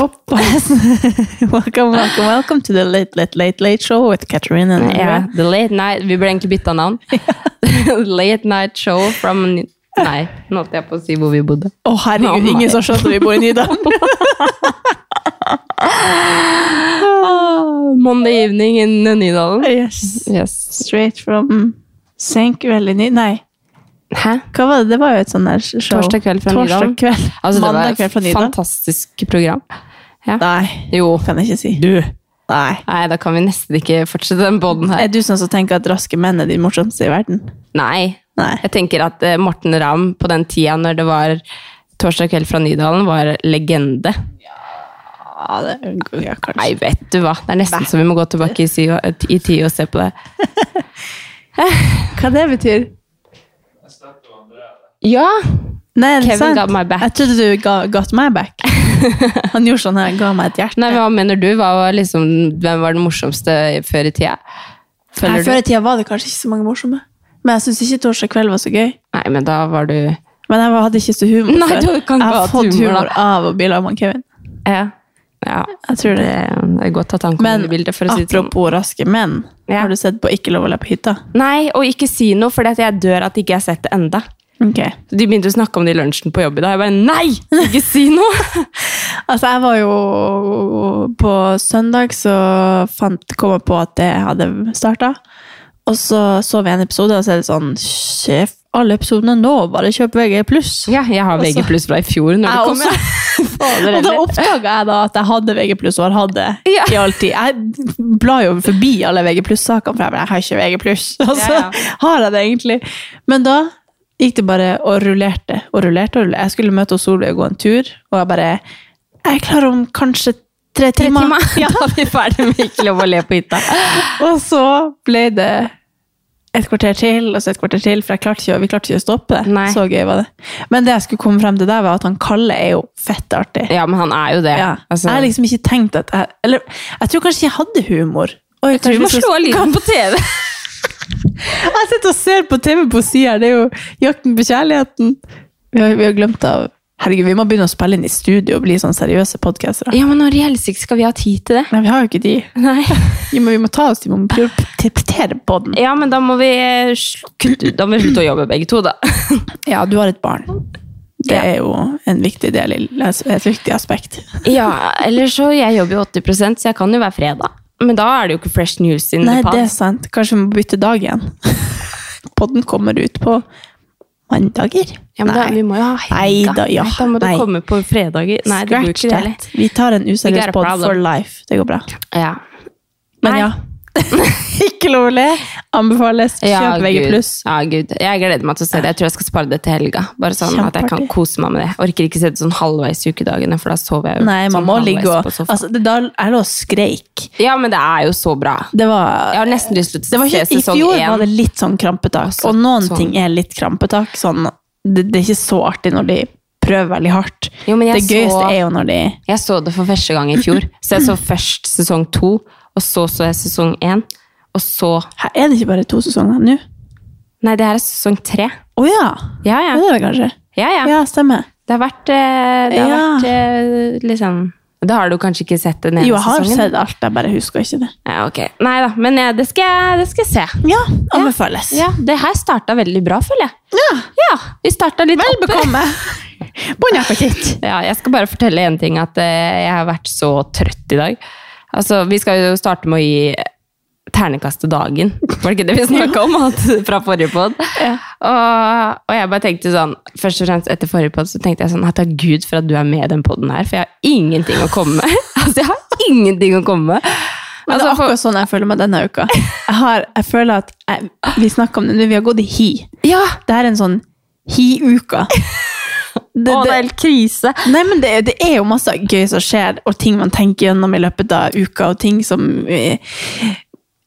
Opp på hesten. Welcome, welcome, welcome to the Late, Late, Late, Late Show with Catherine and Ja, the late night. Vi burde egentlig bytta navn. late night show from Nei, nå holdt jeg på å si hvor vi bodde. Å, herregud, ingen som skjønte vi bor i Nydalen. Ah. Monday evening in Nydalen. yes. Yes. Straight from Senkveld i Ny... Nei, Hæ? hva var det? Det var jo et sånn der show. Torsdag kveld fra Nydalen. Torsdag kveld. Altså, det Mandag var kveld fra et Nydalen. fantastisk program. Ja. Nei, Jo. kan jeg ikke si. Nei. Nei, da kan vi nesten ikke fortsette den båten her. Er du sånn som tenker at raske menn er de morsomste i verden? Nei. Nei. Jeg tenker at eh, Morten Ramm på den tida når det var Torsdag kveld fra Nydalen, var legende. Ja, det ja, kanskje. Nei, vet du hva. Det er nesten så vi må gå tilbake i, si- i tid og se på det. Hva det betyr? Ja! Nei, er det Kevin sant? got my back. Jeg trodde du ga, got my back. Han gjorde sånn her, ga meg et hjerte. Nei, men Hva mener du? Hva var liksom, hvem var den morsomste før i tida? Nei, Føler du? Før i tida var det kanskje ikke så mange morsomme. Men jeg syns ikke torsdag kveld var så gøy. Nei, men da var du Men jeg var- hadde ikke så humor Nei, før. du kan jeg ikke ha har hatt fått humor, humor, da. av å bli lag med Kevin. Ja. ja. Jeg tror Det, det. det er godt at han kom Men inn i bildet, for å si det sånn. apropos raske menn, Ja. har du sett på Ikke lov å le på hytta? Nei, og ikke si noe, for jeg dør at ikke jeg har sett det enda. Ok. De begynte å snakke om det i lunsjen på jobb i dag. Jeg bare Nei! Ikke si noe! Altså, jeg var jo På søndag så fant, kom jeg på at det hadde starta. Og så så vi en episode, og så er det sånn Sjef, alle episodene nå, bare kjøp VG+. Ja, jeg har VG pluss fra i fjor. Når det Jeg kommer. Fader, Og da heller. oppdaga jeg da at jeg hadde VG+, og har hatt det Ja. i all tid. Jeg blar jo forbi alle VG+, sakene for jeg bare, jeg har ikke VG+. Og så Ja, ja. har jeg det egentlig. Men da gikk det bare og rullerte og rullerte. og rullerte. Jeg skulle møte Solveig og gå en tur, og jeg bare, jeg er klar om kanskje tre Tre timer. timer. Da er vi ferdig med Ikke lov å le på hytta. Og så ble det et kvarter til, og så et kvarter til, for jeg klarte ikke, å- vi klarte ikke å stoppe det. Nei. Så gøy var det. Men det jeg skulle komme frem til der, var at han Kalle er jo fett artig. Ja, men han er jo det. Ja. Altså, jeg har liksom ikke tenkt at jeg, Eller jeg tror kanskje jeg hadde humor. Oi, tror vi må slå av lyden på TV. Jeg sitter og ser på TV på sida, det er jo Jakten på kjærligheten. Vi har, vi har glemt av Herregud, vi må begynne å spille inn i studio og bli sånn seriøse podkastere. Ja, men når i helsike skal vi ha tid til det? Nei, vi har jo ikke de. Nei. Vi må, vi må ta oss til, vi må prioritere på den. Ja, men da må vi eh, kutte ut. Da må vi slutte å jobbe begge to, da. Ja, du har et barn. Det er jo en viktig del, i- et viktig aspekt. Ja, eller så Jeg jobber jo 80 så jeg kan jo være fredag. Men da er det jo ikke fresh news in Nei, the det er past. sant. Kanskje vi må bytte dag igjen. Podden kommer ut på mandager. Ja, men da, vi må jo ha Nei da, ja. Nei, da må Nei. du komme på fredager. Nei, det går Scratch ikke det heller. that. Vi tar en We got useriøs a pod problem. for life. Det går bra. Ja. Men Nei. ja. ikke lov å le. Anbefales. Kjøp Ja, VG+. Gud. Ja, Gud. Jeg gleder meg til å se det. Jeg tror jeg skal spare det til helga. Bare sånn at jeg kan Kjempeartig. kose meg med det. Jeg orker ikke se det sånn halvveis i ukedagene, for da sover jeg jo. Nei, man sånn må halvveis ligge og på sofaen. altså, det, Da jeg lå og skreik. Ja, men det er jo så bra. Det var Jeg har nesten lyst det til å var se ikke, I sesong fjor én. var det litt sånn krampetak, Også og noen sånn. ting er litt krampetak. Sånn, det, det er ikke så artig når de prøver veldig hardt. Jo, men det jeg gøyeste så- er jo når de Jeg så det for første gang i fjor. Så jeg så først sesong to, og så så jeg sesong én. Og så Her Er det ikke bare to sesonger nå? Nei, det her er sesong tre. Å ja! Ja, ja. Er det det kanskje? ja, ja. Ja, stemmer. Det har vært, eh, det har Ja. vært eh, liksom Da har du kanskje ikke sett den ene Jo, jeg har sesongen? sett alt, jeg bare husker ikke det. Ja, ok. Nei da, men eh, det, skal jeg, det skal jeg se. Ja, anbefales. Ja, Det her starta veldig bra, føler jeg. Ja, Ja, vi starta litt Vel oppe. bekomme! Bon appétit! Ja, jeg skal bare fortelle en ting, at eh, jeg har vært så trøtt i dag. Altså, vi skal jo starte med å gi ternekaste dagen. Var det ikke det vi snakka om at, fra forrige pod? Og, og jeg bare tenkte sånn, først og fremst etter forrige pod så tenkte jeg sånn at takk Gud for at du er med i den poden her, for jeg har ingenting å komme med. altså, jeg har ingenting å komme Men med. det Altså, er akkurat sånn jeg føler meg denne uka. Jeg, har, jeg føler at jeg, Vi snakker om det nå, vi har gått i hi. Ja! Det her er en sånn hi-uka. Det, Å, det, det er helt krise. nei, men det, det er jo masse gøy som skjer, og ting man tenker gjennom i løpet av uka, og ting som eh,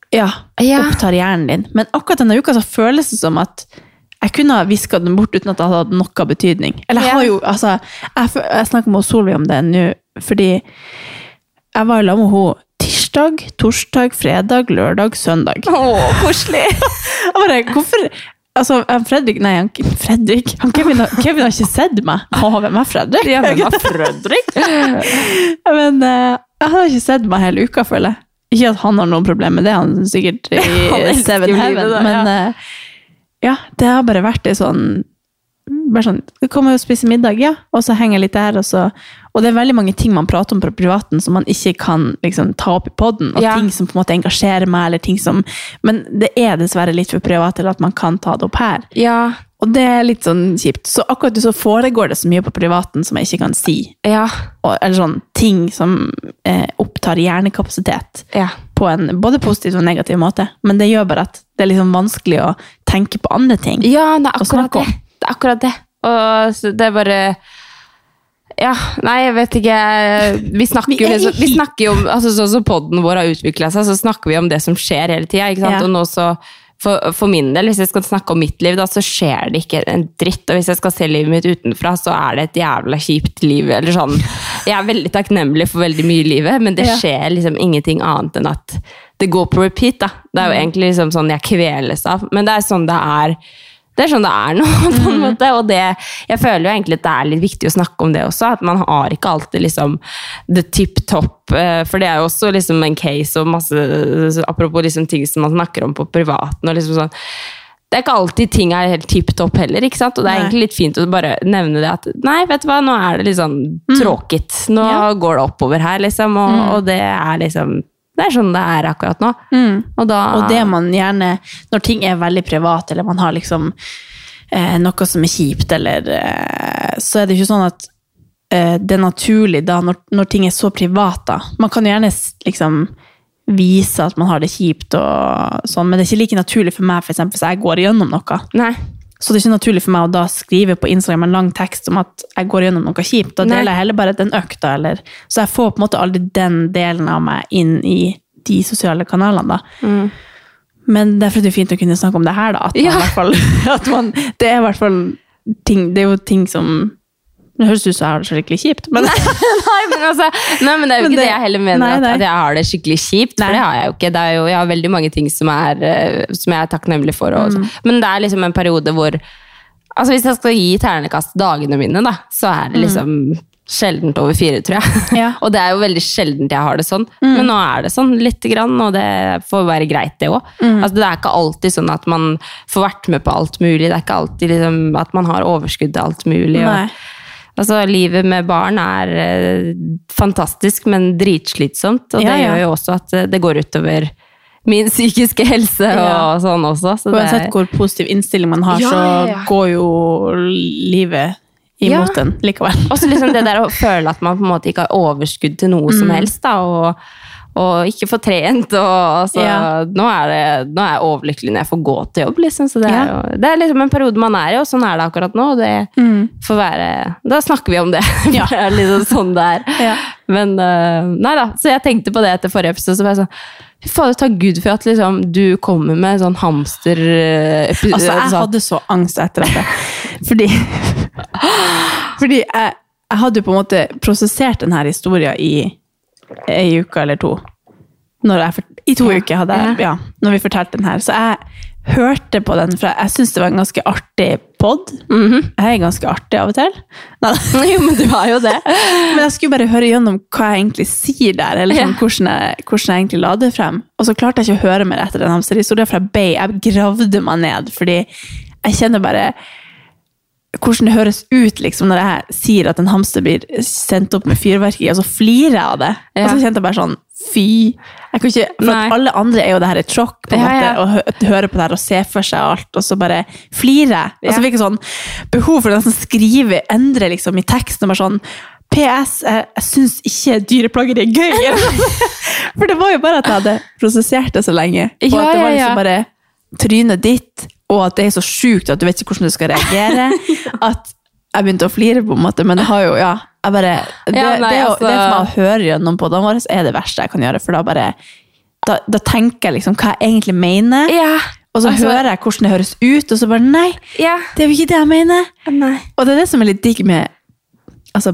ja, Ja. opptar hjernen din. Men akkurat denne uka så føles det som at jeg kunne ha viska den bort uten at det hadde hatt noe betydning. Eller jeg har Ja. jo, altså, jeg, fø- jeg snakker med Solveig om det nå, fordi jeg var i lag med henne tirsdag, torsdag, fredag, lørdag, søndag. Å, koselig. Jeg bare, hvorfor... Altså, han Fredrik, nei, han, Fredrik, han Kevin, har- Kevin har ikke sett meg. Å, hvem er Fredrik? Ja, men da, Fredrik. Men eh, han har ikke sett meg hele uka, føler jeg. Ikke at han har noen problemer med det, han er sikkert i Han elsker Seven livet, Heaven, da, ja. men eh, ja, det har bare vært en sånn bare sånn, vi kommer og spiser middag, ja, og så henger jeg litt der, og så og det er veldig mange ting man prater om på privaten som man ikke kan liksom, ta opp i podden, og Ja. ting som på en måte engasjerer meg, eller ting som, men det er dessverre litt for privat til at man kan ta det opp her. Ja, Og det er litt sånn kjipt. Så akkurat så foregår det så mye på privaten som jeg ikke kan si ja, og, eller sånn ting som eh, opptar hjernekapasitet ja. på en både positiv og negativ måte. Men det gjør bare at det er liksom vanskelig å tenke på andre ting. Ja, det er Og akkurat snakke det. om. Det er akkurat det. Og så det er bare ja, nei, jeg vet ikke. Vi snakker, Vi jo er i liksom, vi hi- snakker jo om altså, Sånn som podden vår har utvikla seg, så snakker vi om det som skjer hele tida. Ja. Og nå så, for, for min del, hvis jeg skal snakke om mitt liv, da, så skjer det ikke en dritt. Og hvis jeg skal se livet mitt utenfra, så er det et jævla kjipt liv. Eller sånn. Jeg er veldig takknemlig for veldig mye i livet, men det Ja. skjer liksom ingenting annet enn at det går på repeat. da. Det er jo egentlig liksom sånn jeg kveles av. Men det er sånn det er. Det er sånn det er nå, på en måte. Og det, jeg føler jo egentlig at det er litt viktig å snakke om det også. At man har ikke alltid liksom the tip top. eh, For det er jo også liksom en case og masse Apropos liksom ting som man snakker om på privaten. og liksom sånn det er ikke alltid ting er helt tipp topp heller, ikke sant? og det er Nei. egentlig litt fint å bare nevne det at nei, vet du hva, nå er det litt sånn tråkigt. Nå Ja. Mm. går det oppover her, liksom, og, og det er liksom Det er sånn det er akkurat nå. Og da Mm. Og det man gjerne, når ting er veldig privat, eller man har liksom eh, noe som er kjipt, eller eh, Så er det ikke sånn at eh, det er naturlig da, når, når ting er så privat, da. Man kan jo gjerne s- liksom vise at man har det kjipt, og sånn, men det er ikke like naturlig for meg, for eksempel, hvis jeg går igjennom noe. Nei. Så det er ikke naturlig for meg å da skrive på Instagram en lang tekst om at jeg går gjennom noe kjipt. Da Nei. deler jeg heller bare den økta, eller Så jeg får på en måte aldri den delen av meg inn i de sosiale kanalene, da. Men derfor er det jo fint å kunne snakke om det her, da. At man, Mm. Ja. i hvert fall, at man, det er i hvert fall ting Det er jo ting som Det høres ut som jeg har det skikkelig kjipt, men Nei, men altså, nei, men det er jo Men ikke det, det- jeg heller mener, Nei, at- nei. at jeg har det skikkelig kjipt. Nei. For det har jeg jo ikke. Det er jo, jeg har veldig mange ting som, er, eh, som jeg er takknemlig for. Mm. Og, Men det er liksom en periode hvor Altså, hvis jeg skal gi ternekast dagene mine, da, så er det liksom sjeldent over fire, tror jeg. Mm. Ja. Mm. og det er jo veldig sjeldent jeg har det sånn, men nå er det sånn lite grann, og det får være greit, det òg. Mm. Altså, det er ikke alltid sånn at man får vært med på alt mulig. Det er ikke alltid liksom, at man har overskudd til alt mulig. Nei. Og, altså, livet med barn er eh, fantastisk, men dritslitsomt, og Ja, det ja. gjør jo også at eh, det går utover min psykiske helse Ja. og sånn også. Så det, uansett hvor positiv innstilling man har, Ja, ja, ja. så går jo livet imot Ja. den likevel. Også liksom det der å føle at man på en måte ikke har overskudd til noe Mm. som helst, da, og, og ikke får trent. Og, altså, Ja. nå, er det, nå er jeg overlykkelig når jeg får gå til jobb, liksom. Så det er, Ja. jo, det er liksom en periode man er i, og sånn er det akkurat nå. Og det får være Da snakker vi om det. Mm. Ja. det er liksom sånn det er. Ja. Men øh, nei da, så jeg tenkte på det etter forrige episode, så var jeg sånn Fy fader, takk Gud for at liksom, du kommer med sånn hamster... øh, epi- Altså, jeg sånn- hadde så angst etter dette. Fordi, fordi jeg, jeg hadde jo på en måte prosessert denne historien i ei uke eller to. Når jeg, fort- I to uker hadde jeg, ja, når vi fortalte den her. Så jeg hørte på den, for jeg syns det var en ganske artig pod. Jeg er ganske artig av og til. Mhm. Jo, men du har jo det. Men jeg skulle bare høre gjennom hva jeg egentlig sier der, eller sånn, Ja. hvordan, jeg, hvordan jeg egentlig la det frem. Og så klarte jeg ikke å høre mer etter den hamsterhistorien, for jeg, bei, jeg gravde meg ned, fordi jeg kjenner bare hvordan det høres ut liksom, når jeg sier at en hamster blir sendt opp med fyrverkeri, og så flirer jeg av det. Og så Ja. kjente jeg bare sånn fy. Jeg kan ikke, for Nei. at alle andre er jo det her et sjokk, på en Ja, måte, å ja. hø å høre på det her og se for seg alt, og så bare flire. Og så Ja. fikk jeg sånn behov for å nesten skrive, endre liksom i teksten, og bare sånn, PS, jeg, jeg synes ikke dyreplageri er gøy. for det var jo bare at jeg hadde prosessert det så lenge, og Ja, at det ja, var ja. liksom bare trynet ditt, og at det er så sykt at du vet ikke hvordan du skal reagere, at jeg begynte å flire på en måte, men det har jo, ja, jeg bare, det, Ja, nei, det, er jo- altså- det som jeg hører gjennom på våre, er det verste jeg kan gjøre, for da bare, da, da tenker jeg liksom hva jeg egentlig mener, Ja. og så altså- hører jeg hvordan det høres ut, og så bare, nei, Ja. det er jo ikke det jeg mener. Nei. Og det er det som er litt digg med altså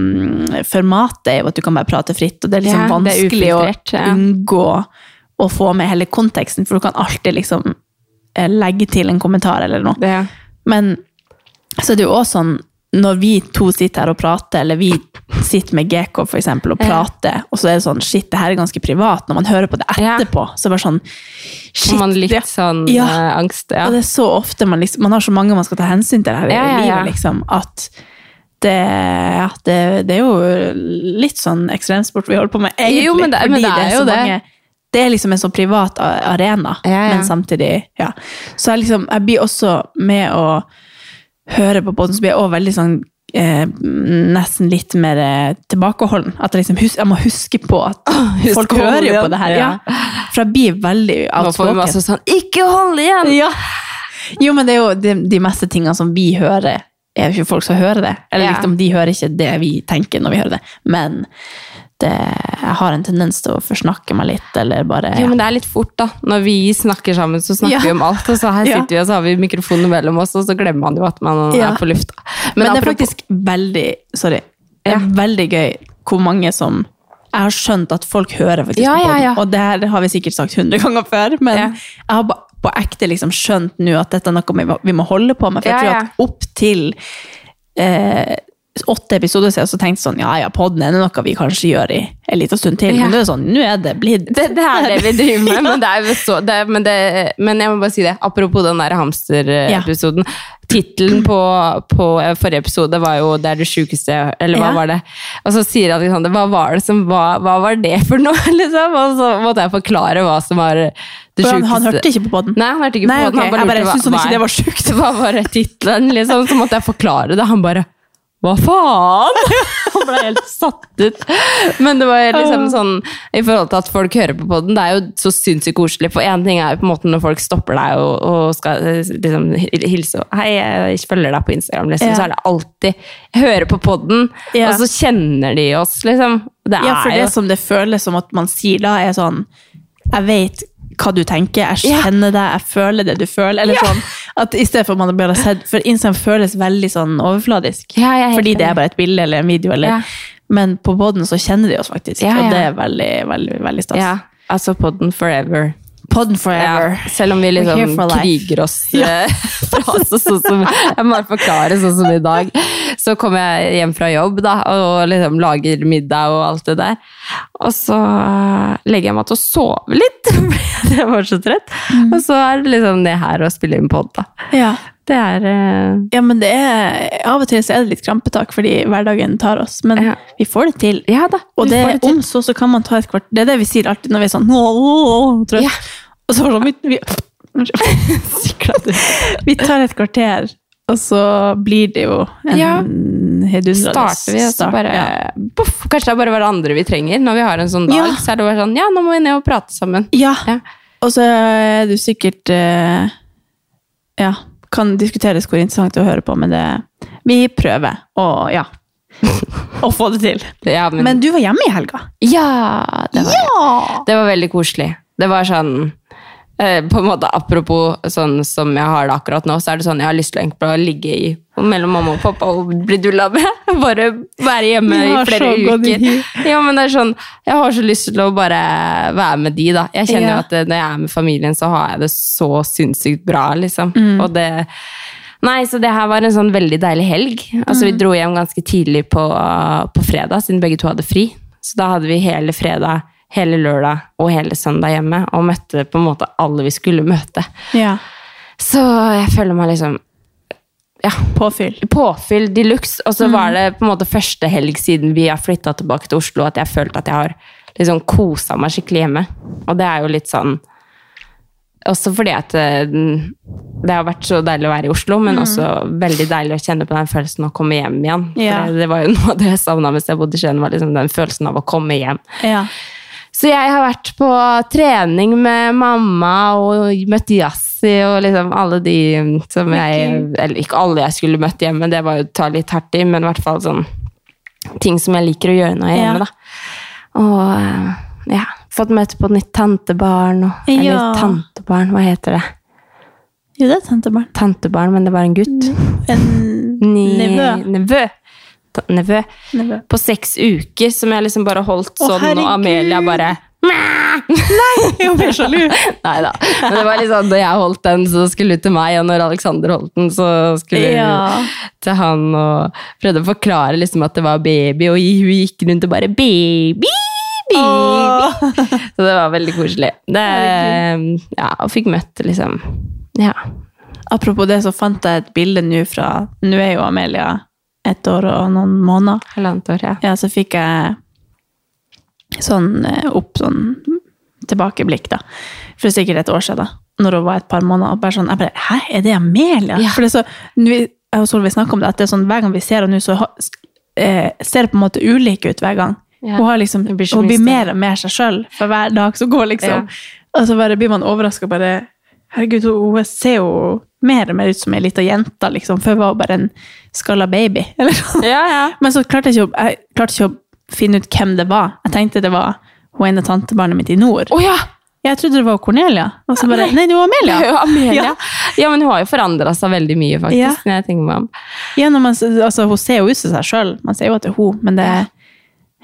podkast-formatet, er jo at du kan bare prate fritt, og det er liksom Ja, det er vanskelig å ufiltrert, ja. unngå å få med hele konteksten, for du kan alltid liksom eh, legge til en kommentar eller noe. Det, Men så er det jo også sånn, når vi to sitter her og prater, eller vi sitter med GK for eksempel og Ja. prater, og så er det sånn, shit, det her er ganske privat, når man hører på det Ja. etterpå, så bare sånn, shit, får man litt det- sånn Ja. eh, angst. Ja. og det er så ofte man liksom Man har så mange man skal ta hensyn til her Ja, ja, i ja. livet, liksom, at det, ja, det, det er jo litt sånn ekstremsport vi holder på med, egentlig. Jo, men det- men fordi det er så jo det. det er liksom en sånn privat a- arena, Ja, ja. men samtidig Ja. Så jeg liksom Jeg blir også med å høre på båten, så blir jeg også veldig sånn Eh, nesten litt mer eh, tilbakeholden. At jeg, liksom hus jeg må huske på at folk hører jo igjen. på det her. Ja. Ja. For jeg blir veldig Nå får vi outspoken. masse sånn Ikke hold igjen! Ja. Jo, men det er jo de, de meste tingene som vi hører, er jo ikke folk som hører det. Eller Ja. liksom, de hører ikke det vi tenker når vi hører det. Men det, jeg har en tendens til å forsnakke meg litt, eller bare Jo, men det er litt fort, da. Når vi snakker sammen, så snakker Ja. vi om alt. Og så her Ja. sitter vi, og så har vi mikrofonen mellom oss, og så glemmer man jo at man Ja. er på lufta. Men, det er apropos- faktisk veldig Sorry. Det Ja. er veldig gøy hvor mange som jeg har skjønt at folk hører faktisk Ja, på ja, podden. ja. Og det her har vi sikkert sagt hundre ganger før, men Ja. jeg har ba- på ekte liksom skjønt nå at dette er noe vi må- vi må holde på med. For jeg Ja, tror ja. at opp til eh, åtte episoder siden så tenkte jeg sånn, ja ja, podden er noe vi kanskje gjør i en liten stund til. Ja. Men det er sånn, nå er det blitt det, det er det vi driver med, men, det er jo så, det, er- men, det, men jeg må bare si det. Apropos den der hamsterepisoden. Tittelen på, på forrige episode var jo 'Det er det sjukeste jeg har-» Eller hva Ja. var det? Og så sier Alexander 'Hva var det som var, hva var det for noe?' liksom. Og så måtte jeg forklare hva som var det For sjukeste. han, han hørte ikke på podden. Nei, han hørte ikke på Nei, den. ok. Han bare Jeg bare lurte hva- syntes han hva ikke er- det var sjukt. Hva var det tittelen, liksom? Så måtte jeg forklare det. Han bare Hva faen? Han ble helt satt ut. Men det var liksom sånn I forhold til at folk hører på podden, det er jo så sinnssykt koselig. For én ting er jo på en måte når folk stopper deg og, og skal eh, liksom hilse og Hei, jeg følger deg på Instagram, liksom. Ja. Så er det alltid Jeg hører på podden, Ja. og så kjenner de oss, liksom. Det er Ja, for jo det som det føles som at man sier da, er sånn Jeg vet hva du tenker, jeg Ja. kjenner deg, jeg føler det du føler. Eller sånn, at i stedet for at man bare har sett For Instagram føles veldig sånn overfladisk. Ja, jeg er helt fordi det enig. er bare et bilde eller en video. Eller, Ja. Men på båten så kjenner de oss faktisk, Ja, ja. og det er veldig, veldig, veldig stas. Ja, altså podden forever. Podden Ja, forever. selv om vi We're here for liksom life. kriger oss eh, fra oss, og sånn som Jeg må bare forklare sånn som i dag. Så kom jeg hjem fra jobb da, og liksom lager middag og alt det der. Og så eh, legger jeg meg til å sove litt, fordi jeg var så trett. Mm. Og så er det liksom det her å spille inn pod, da. Ja. Det er eh, Ja, men det er, Av og til så er det litt krampetak fordi hverdagen tar oss, men Ja. vi får det til. Ja da. Og vi det, får til. om så, så kan man ta et kvart Det er det vi sier alltid når vi er sånn åh, åh, åh, trøtt. Ja. Og så sånn, vi, vi, Unnskyld. vi tar et kvarter, og så blir det jo en Ja. hedundrende starter vi, og så start, bare ja. poff, Kanskje det er bare hverandre vi trenger når vi har en sånn dag. Ja. Så er det bare sånn Ja, nå må vi ned og prate sammen. Ja. Ja. Og så er du sikkert eh, Ja, kan diskuteres hvor interessant det er å høre på, men det Vi prøver å ja. Å få det til. Ja, men, Men du var hjemme i helga. Ja! Det var, Ja! det var veldig koselig. Det var sånn eh, på en måte Apropos sånn som jeg har det akkurat nå, så er det sånn jeg har lyst til egentlig å ligge i mellom mamma og pappa og bli dulla med. Bare være hjemme Vi i har flere så godt uker. Ja, men det er sånn, Jeg har så lyst til å bare være med de, da. Jeg kjenner jo Ja. at eh, når jeg er med familien, så har jeg det så sinnssykt bra, liksom. Og det Nei, så det her var en sånn veldig deilig helg. Altså, Vi dro hjem ganske tidlig på, på fredag, siden begge to hadde fri. Så da hadde vi hele fredag, hele lørdag og hele søndag hjemme, og møtte på en måte alle vi skulle møte. Ja. Så jeg føler meg liksom ja, Påfyll. Mm. påfyll de luxe. Og så var det på en måte første helg siden vi har flytta tilbake til Oslo at jeg følte at jeg har liksom kosa meg skikkelig hjemme. Og det er jo litt sånn Også fordi at eh, det har vært så deilig å være i Oslo, Mm. men også veldig deilig å kjenne på den følelsen av å komme hjem igjen. Ja. For det var jo noe av det jeg savna mens jeg bodde i Skien, var liksom den følelsen av å komme hjem. Ja. Så jeg har vært på trening med mamma og møtt Yassi og liksom alle de som jeg Eller ikke alle jeg skulle møtt hjemme, det var jo å ta litt hardt i, men i hvert fall sånn ting som jeg liker å gjøre når jeg er Ja. hjemme, da. Og eh, ja, fått møte på et nytt tantebarn og Eller Ja. tantebarn, hva heter det? Jo, det er tantebarn. Tantebarn, men det var en gutt. En Ni- Mm. nevø. Nevø. Ta- Nevø. Nevø. På seks uker, som jeg liksom bare holdt Å, sånn, og herregud. Amelia bare Jeg blir sjalu. Nei da. Men det var litt sånn, da jeg holdt den, så skulle hun til meg, og når Alexander holdt den, så skulle hun Ja. til han og prøvde å forklare liksom at det var baby, og hun gikk rundt og bare baby, baby. Åh. Så det var veldig koselig. Det, ja, og fikk møtt liksom Ja. Apropos det, så fant jeg et bilde nå fra Nå er jo Amelia ett år og noen måneder. Halvannet år, ja. Ja, så fikk jeg sånn eh, opp sånn tilbakeblikk, da. For sikkert et år siden, da. Når hun var et par måneder. Og bare sånn, jeg bare Hæ, er det Amelia? Ja. For det er så nå, Jeg og Solveig snakker om det, at det er sånn hver gang vi ser henne nå, så ha- s- eh, ser det på en måte ulik ut hver gang. Ja. Hun, har liksom, Det blir så hun mye blir større. mer og mer seg sjøl for hver dag som går, liksom. Og så bare blir man overraska bare Herregud, hun hun ser jo mer og mer ut som ei lita jente, liksom. Før var hun bare en skalla baby. Eller sånn. Ja, ja. Men så klarte jeg, ikke å, jeg klarte ikke å finne ut hvem det var. Jeg tenkte det var hun ene tantebarnet mitt i nord. Å ja! Jeg trodde det var Cornelia. Og så bare, nei, det var Amelia. Det er jo Amelia. Ja. Ja, men hun har jo forandra seg veldig mye, faktisk. Ja. når jeg tenker meg om. Ja, når man, altså, hun ser jo ut som seg sjøl. Man ser jo at det er hun, men det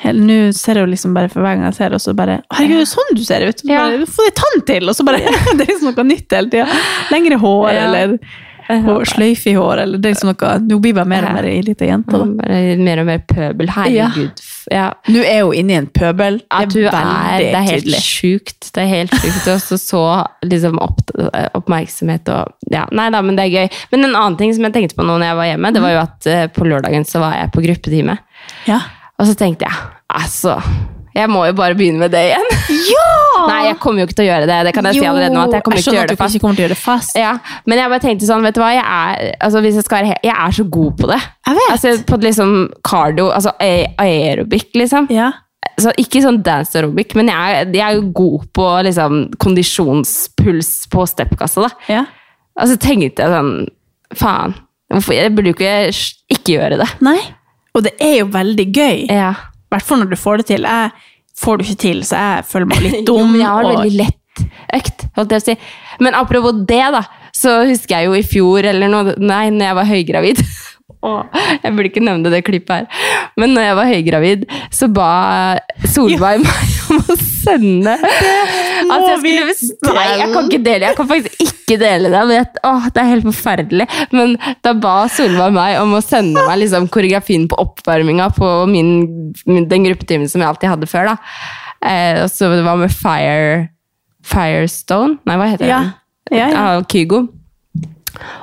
hel- nå ser jeg jo liksom bare for hver gang jeg ser det, og så bare Herregud, det er sånn du ser ut! Så Ja. Bare, Få deg tann til! Og så bare Det er liksom noe nytt hele tida. Lengre hår, Ja. eller hår, sløyfe i hår, eller det er liksom noe Nå blir bare mer og mer ei lita jente. Da. Bare mer og mer pøbel. Herregud. Ja. Nå er hun inne i en pøbel. At hun det er, er veldig det er helt tydelig. sjukt. Det er helt sjukt. Og så så liksom opp, oppmerksomhet og ja. Nei da, men det er gøy. Men en annen ting som jeg tenkte på nå når jeg var hjemme, det var jo at eh, på lørdagen så var jeg på gruppetime. Ja. Og så tenkte jeg, altså Jeg må jo bare begynne med det igjen. Nei, jeg kommer jo ikke til å gjøre det. Det kan jeg si allerede nå. at Jeg kommer ikke til å gjøre det Jeg skjønner fast. at du ikke kommer til å gjøre det fast. Ja, men jeg bare tenkte sånn, vet du hva, jeg er, altså, hvis jeg, skal, være he- jeg er så god på det. Jeg vet. Altså, på liksom cardio, altså a- aerobic, liksom. Ja. Så ikke sånn dance aerobic, men jeg, er- jeg er jo god på liksom, kondisjonspuls på steppkassa. Da. Ja. Og så tenkte jeg sånn, faen, hvorfor, jeg burde jo ikke, ikke gjøre det. Nei. Og det er jo veldig gøy. I Ja. hvert fall når du får det til. Jeg får det ikke til, så jeg føler meg litt dum. Jo, men jeg har og- veldig lett økt, holdt jeg på å si. Men apropos det, da, så husker jeg jo i fjor, eller noe, nei, når jeg var høygravid Åh, Jeg burde ikke nevne det klippet her, men når jeg var høygravid, så ba Solveig meg om å sende At jeg vi skulle Nei, jeg kan ikke dele Jeg kan faktisk ikke dele det. Men jeg, åh, det er helt forferdelig. Men da ba Solveig meg om å sende meg liksom, koreografien på oppvarminga på min, min, den gruppetimen som jeg alltid hadde før. da. Eh, og så det var med Fire Firestone? Nei, hva heter Ja. den? Ja, ja. Av Kygo.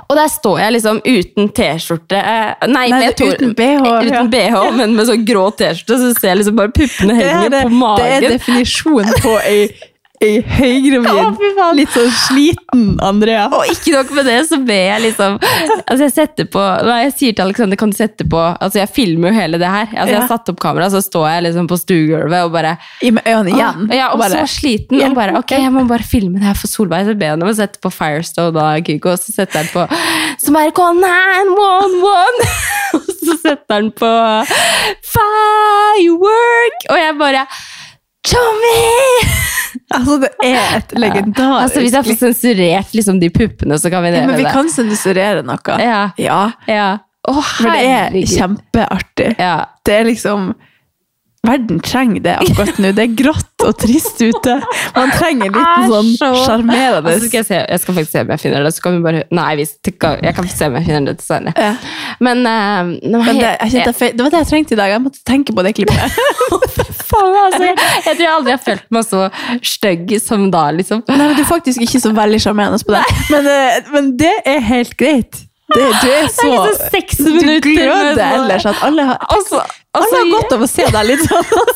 Og der står jeg liksom uten T-skjorte eh, Nei, Nei, med to- eh, uten BH, ja. Uten BH, men med sånn grå T-skjorte, så ser jeg liksom bare puppene Det er henger det- på magen. Det er definisjonen på ei, ei Å, fy høygravid, faen. litt sånn sliten Andrea. Og ikke nok med det, så ber jeg liksom Altså, jeg setter på Nei, jeg sier til Alexander, kan du sette på Altså, jeg filmer jo hele det her. Altså, jeg Ja. har satt opp kamera, så står jeg liksom på stuegulvet og bare I med øynene igjen. Åh, Ja, og bare, så sliten. Og bare, ok, jeg må bare filme det her for Solveig. Så ber jeg henne om å sette på Firestone av Kygo, og så setter jeg den på Som er call 911! Og så setter han på Firework! Og jeg bare Tommy! altså, det er et legendarisk Altså, hvis jeg får sensurert liksom, de puppene, så kan vi Ja, det. Men vi det. kan sensurere noe. Ja. ja. Ja. Å, For det er herregud. kjempeartig. Ja. Det er liksom Verden trenger det akkurat nå. Det er grått og trist ute. Man trenger en liten Det er sånn så- sjarmerende Altså, skal jeg, se, jeg skal faktisk se om jeg finner det. Så kan vi bare Nei, vi, jeg kan se om jeg finner det til senere. Ja. Men, eh, det var Men det, helt- jeg kjente, jeg fe- det var det jeg trengte i dag. Jeg måtte tenke på det klippet. faen, altså, jeg, jeg tror jeg aldri har følt meg så stygg som da, liksom. Nei, men Du er faktisk ikke så veldig sjarmerende på det. Men, eh, men det er helt greit. Det, du er så, er liksom seks Du minutter med gløder sånn- Altså, ellers at alle har, Og så- og alle så- har godt av å se deg litt sånn. Og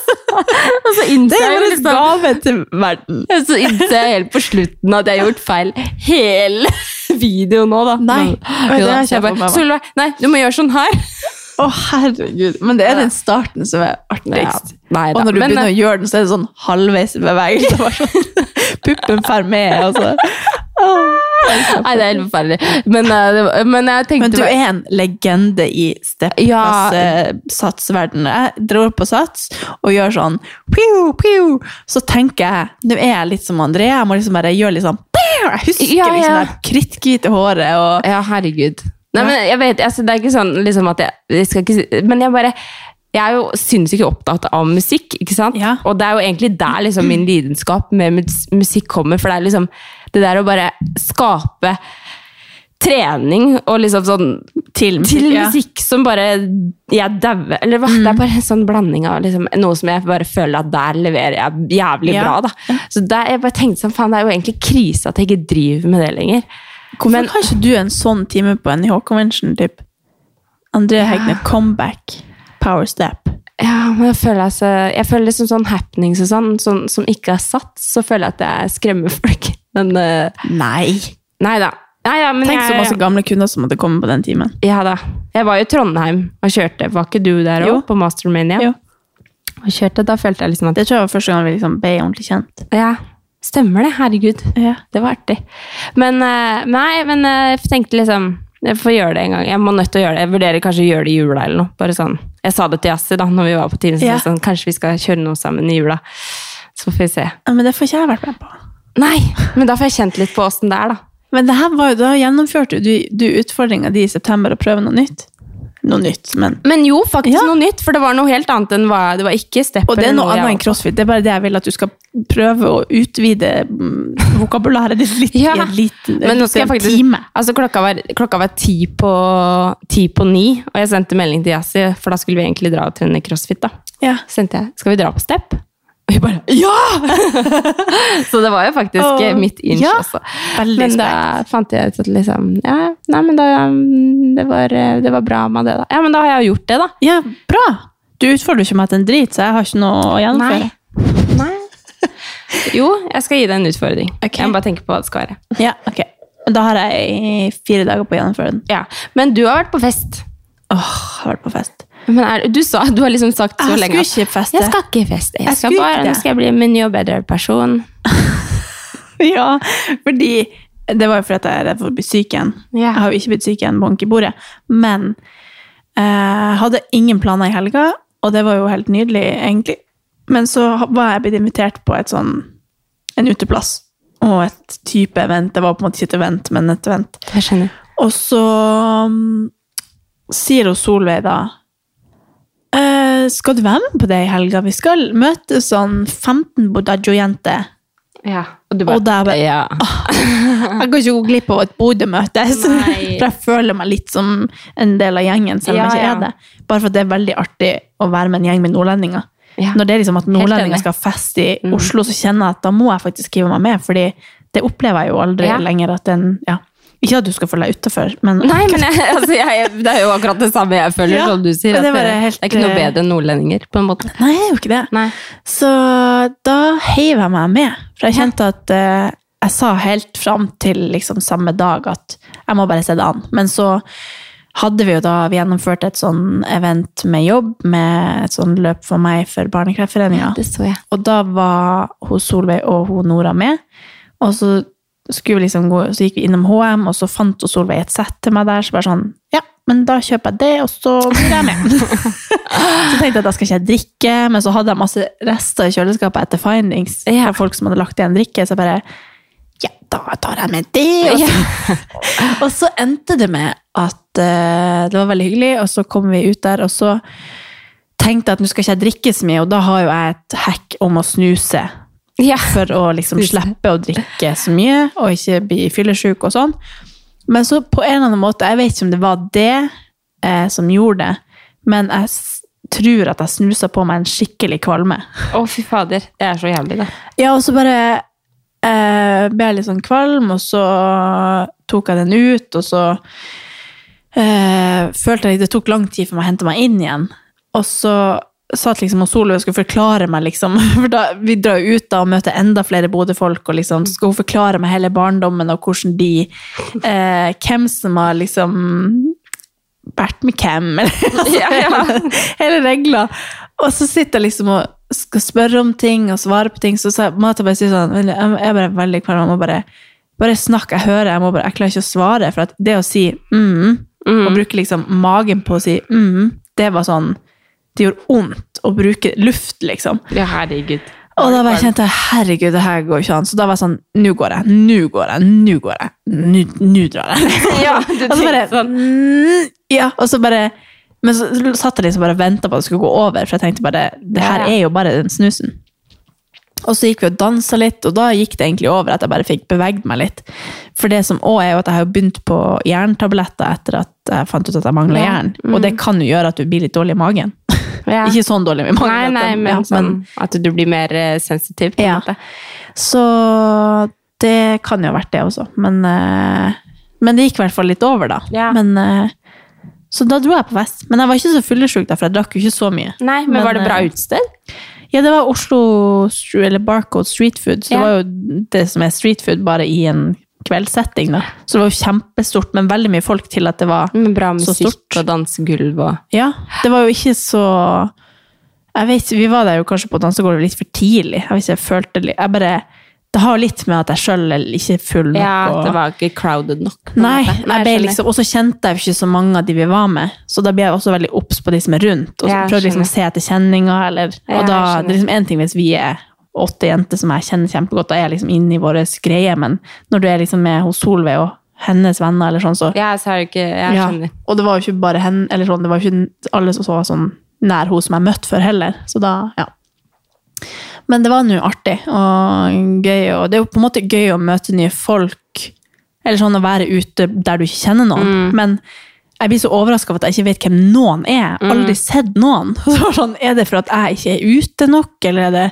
så innser Det er jo jeg jo en liksom gave til verden. Ja, Så innser jeg helt på slutten at jeg har gjort feil hele videoen nå, da. Nei, Men- det Jo da, har jeg så jeg ikke fått med bare, meg. Solveig, nei, du må gjøre sånn her. Å, herregud. Men det er den starten som er artigst. Ja, nei da, Og når du men- eh, begynner å gjøre den, så er det sånn halvveis bevegelse. Bare sånn, puppen fer med, altså. Nei, det er helt forferdelig. Men, eh, det var- men jeg tenkte Men du bare- er en legende i Ja. steppeklasse-satsverdenen. Jeg drar på sats og gjør sånn piu, piu. Så tenker jeg Nå er jeg litt som André. Jeg må liksom bare gjøre litt sånn piu. Jeg husker Ja, ja. liksom det kritthvite håret og Ja, herregud. Nei, Ja. men jeg vet, altså, det er ikke sånn liksom at jeg, jeg skal ikke si Men jeg bare jeg er jo sinnssykt opptatt av musikk, ikke sant? Ja. Og det er jo egentlig der liksom min lidenskap med mus- musikk kommer, for det er liksom det der å bare skape trening og liksom sånn til musikk. til ja. Mm. musikk som bare jeg dauer Eller hva? Det er bare en sånn blanding av liksom, noe som jeg bare føler at der leverer jeg jævlig Ja. bra, da. Så der, jeg bare tenkte sånn, faen, det er jo egentlig krise at jeg ikke driver med det lenger. Hvorfor Men- har ikke du en sånn time på NIH-convention? typ? André Hegne, comeback, power step. Ja, men jeg føler, altså, jeg føler liksom sånn happenings og sånn, sånn som ikke er satt, så føler jeg at jeg skremmer folk. Men eh, Nei! nei da. Nei da, men Tenk så masse jeg, gamle kunder som måtte komme på den timen. ja, da. jeg var jo i Trondheim og kjørte. Var ikke du der Jo. òg, på Mastermania? Jo. Og kjørte, da følte jeg liksom at Det tror jeg var første gang vi liksom ble ordentlig kjent. Ja, stemmer det. Herregud. Ja. Det var artig. Men eh, nei, men eh, jeg tenkte liksom jeg får gjøre det en gang. Jeg må nødt til å gjøre det. Jeg vurderer kanskje å gjøre det i jula eller noe. Bare sånn. Jeg sa det til Yassi da når vi var på Teams. Ja. Sånn, kanskje vi skal kjøre noe sammen i jula. Så får vi se. Ja, Men det får ikke jeg vært med på. Nei, men da får jeg kjent litt på åssen det er, da. Men det her var jo, da gjennomførte jo du, du utfordringa di i september å prøve noe nytt. Noe nytt, men Men jo, faktisk Ja. noe nytt, for det var noe helt annet enn hva Det var ikke stepper. Og det er noe annet enn jeg- crossfit. Det er bare det jeg vil at du skal prøve å utvide mm, vokabulæret ditt litt Ja, i en liten, Men nå skal liten jeg faktisk time. Altså, klokka var, klokka var ti, på, ti på ni, og jeg sendte melding til Yassi, for da skulle vi egentlig dra og trene crossfit, da. Ja. Så tenkte jeg, skal vi dra på step? Og jeg bare, ja! så det var jo faktisk Åh, eh, mitt inch ja. også. Veldig men da fant jeg ut at liksom, ja, nei, men da, mm, det var, eh, det var bra med det da. Ja, men da har jeg jo gjort det da. Ja, bra! Du utfordrer jo ikke meg til en drit, så jeg har ikke noe å gjennomføre. Nei. Nei. Jo, jeg skal gi deg en utfordring. Ok. Jeg må bare tenke på hva det skal være. Ja, ok. Men Da har jeg fire dager på å gjennomføre den. Ja. Men du har vært på fest. Åh, jeg har vært på fest. Men er, du, sa, du har liksom sagt så Jeg lenge at- skulle ikke feste. Jeg skal ikke feste. Jeg, Jeg skal skulle bare, ikke nå det. skal jeg bli en ny og bedre person. Ja, fordi Det var jo fordi at jeg er redd for å bli syk igjen. Ja. Jeg har jo ikke blitt syk igjen, bank i bordet. Men eh, jeg hadde ingen planer i helga, og det var jo helt nydelig, egentlig. Men så ha- var jeg blitt invitert på et sånn, en uteplass og et type event. Det var på en måte ikke et event, men et event. Jeg skjønner. Og så mm, sier hun Solveig da «Eh, Skal du være med på det i helga? Vi skal møte sånn 15 Bodaggio-jenter. Ja. Og du Og da bare- ja. Jeg kan ikke gå glipp av et Bodø-møte, så- Nei. for jeg føler meg litt som en del av gjengen, selv om Ja, jeg ikke ja. er det. Bare for at det er veldig artig å være med en gjeng med nordlendinger. Ja. Når det er liksom at enig. Mm. nordlendinger skal feste i Oslo, så kjenner jeg at da må jeg faktisk skrive meg med, fordi det opplever jeg jo aldri Ja. lenger at den, ja. Ikke at du skal føle deg utenfor, men Nei, men jeg, altså, jeg, det er jo akkurat det samme jeg føler Ja, som du sier. men At det det, var det, helt, er ikke noe eh, bedre enn nordlendinger, på en måte. Nei, jeg er jo ikke det. Nei. Så da heiv jeg meg med. For jeg kjente at eh, jeg sa helt fram til liksom samme dag at jeg må bare se det an. Men så hadde vi jo da vi gjennomførte et sånn event med jobb, med et sånn løp for meg for Barnekreftforeninga. Det så jeg. Og da var hun Solveig og hun Nora med. Og så, skulle vi liksom gå, så gikk vi innom HM, og så fant hun Solveig et sett til meg der. Så bare sånn Ja, men da kjøper jeg det, og så blir jeg med. så tenkte jeg at da skal ikke jeg drikke, men så hadde jeg masse rester i kjøleskapet etter findings Ja. fra folk som hadde lagt igjen drikke. Så jeg bare Ja, da tar jeg med det. Og så, og så endte det med at eh, det var veldig hyggelig, og så kom vi ut der, og så tenkte jeg at nå skal ikke jeg drikke så mye, og da har jo jeg et hack om å snuse. Ja. For å liksom Snuse. slippe å drikke så mye, og ikke bli fyllesyk og sånn. Men så på en eller annen måte, jeg vet ikke om det var det eh, som gjorde det, men jeg s- tror at jeg snusa på meg en skikkelig kvalme. Å, fy fader. Det er så jævlig, det. Ja, og så bare eh, ble jeg litt sånn kvalm, og så tok jeg den ut, og så eh, følte jeg det tok lang tid for meg å hente meg inn igjen. Og så satt liksom og Solveig og skulle forklare meg, liksom. For da, vi drar jo ut da og møter enda flere Bodø-folk, og liksom, så skal hun forklare meg hele barndommen og hvordan de eh, Hvem som har liksom vært med hvem, eller altså, Ja, ja. hele regler. Og så sitter jeg liksom og skal spørre om ting og svare på ting, så sa- måtte jeg bare si sånn «Vel, Jeg jeg er bare veldig klar, jeg må bare bare snakke, jeg hører, jeg, må bare, jeg klarer ikke å svare. For at det å si mm, og bruke liksom magen på å si mm, det var sånn Det gjorde vondt å bruke luft, liksom. Ja, herregud. Og da bare kjente jeg herregud, det her går ikke an. Så da var jeg sånn Nå går jeg, nå går jeg, nå går jeg. nå- Nå drar jeg. Ja, du Og så bare tenkte sånn. mm, Ja, og så bare Men så satt jeg liksom bare og venta på at det skulle gå over, for jeg tenkte bare Det her Ja. er jo bare den snusen. Og så gikk vi og dansa litt, og da gikk det egentlig over at jeg bare fikk beveget meg litt. For det som òg er jo at jeg har jo begynt på jerntabletter etter at jeg fant ut at jeg mangla Ja, mm. jern. Og det kan jo gjøre at du blir litt dårlig i magen. Ja. Ikke sånn dårlig i magen. Nei, at nei, den- men ja, sånn at du blir mer eh, sensitiv. på en Ja. måte. Så det kan jo ha vært det også. Men, eh, men det gikk i hvert fall litt over, da. Ja. Men, eh, så da dro jeg på fest. Men jeg var ikke så fyllesyk, da, for jeg drakk jo ikke så mye. Nei, men, var det bra eh, utested? Ja, det var Oslo Stru- eller Barcode Street Food. Så Ja. det var jo det som er street food, bare i en kveldssetting. da. Så det var jo kjempestort, men veldig mye folk til at det var Med bra så stort. musikk og dansegulv og Ja, det var jo ikke så Jeg vet, Vi var der jo kanskje på dansegulvet litt for tidlig. Jeg vet ikke, jeg følte litt Jeg bare Det har litt med at jeg sjøl er ikke full nok. Ja, og- det var ikke crowded nok. på en Nei, jeg måte. ble skjønner. liksom, og så kjente jeg jo ikke så mange av de vi var med, så da ble jeg også veldig obs på de som er rundt, og så Ja, jeg prøvde liksom å se etter kjenninger, eller, Ja, og da, jeg skjønner. det er liksom en ting hvis vi er åtte jenter som jeg kjenner kjempegodt, da er jeg liksom inne i våre greie, men når du er liksom med hos Solveig og hennes venner, eller sånn, så Ja, så er det ikke Jeg ja. skjønner. Og det var jo ikke bare henne, eller sånn, det var jo ikke alle som var sånn nær henne som jeg møtte før heller. Så da, ja. Men det var nå artig og gøy, og det er jo på en måte gøy å møte nye folk, eller sånn å være ute der du ikke kjenner noen. Mm. Men jeg blir så overrasket over at jeg ikke vet hvem noen er. Jeg har aldri Mm. sett noen. Så det var sånn, er det for at jeg ikke er ute nok, eller er det...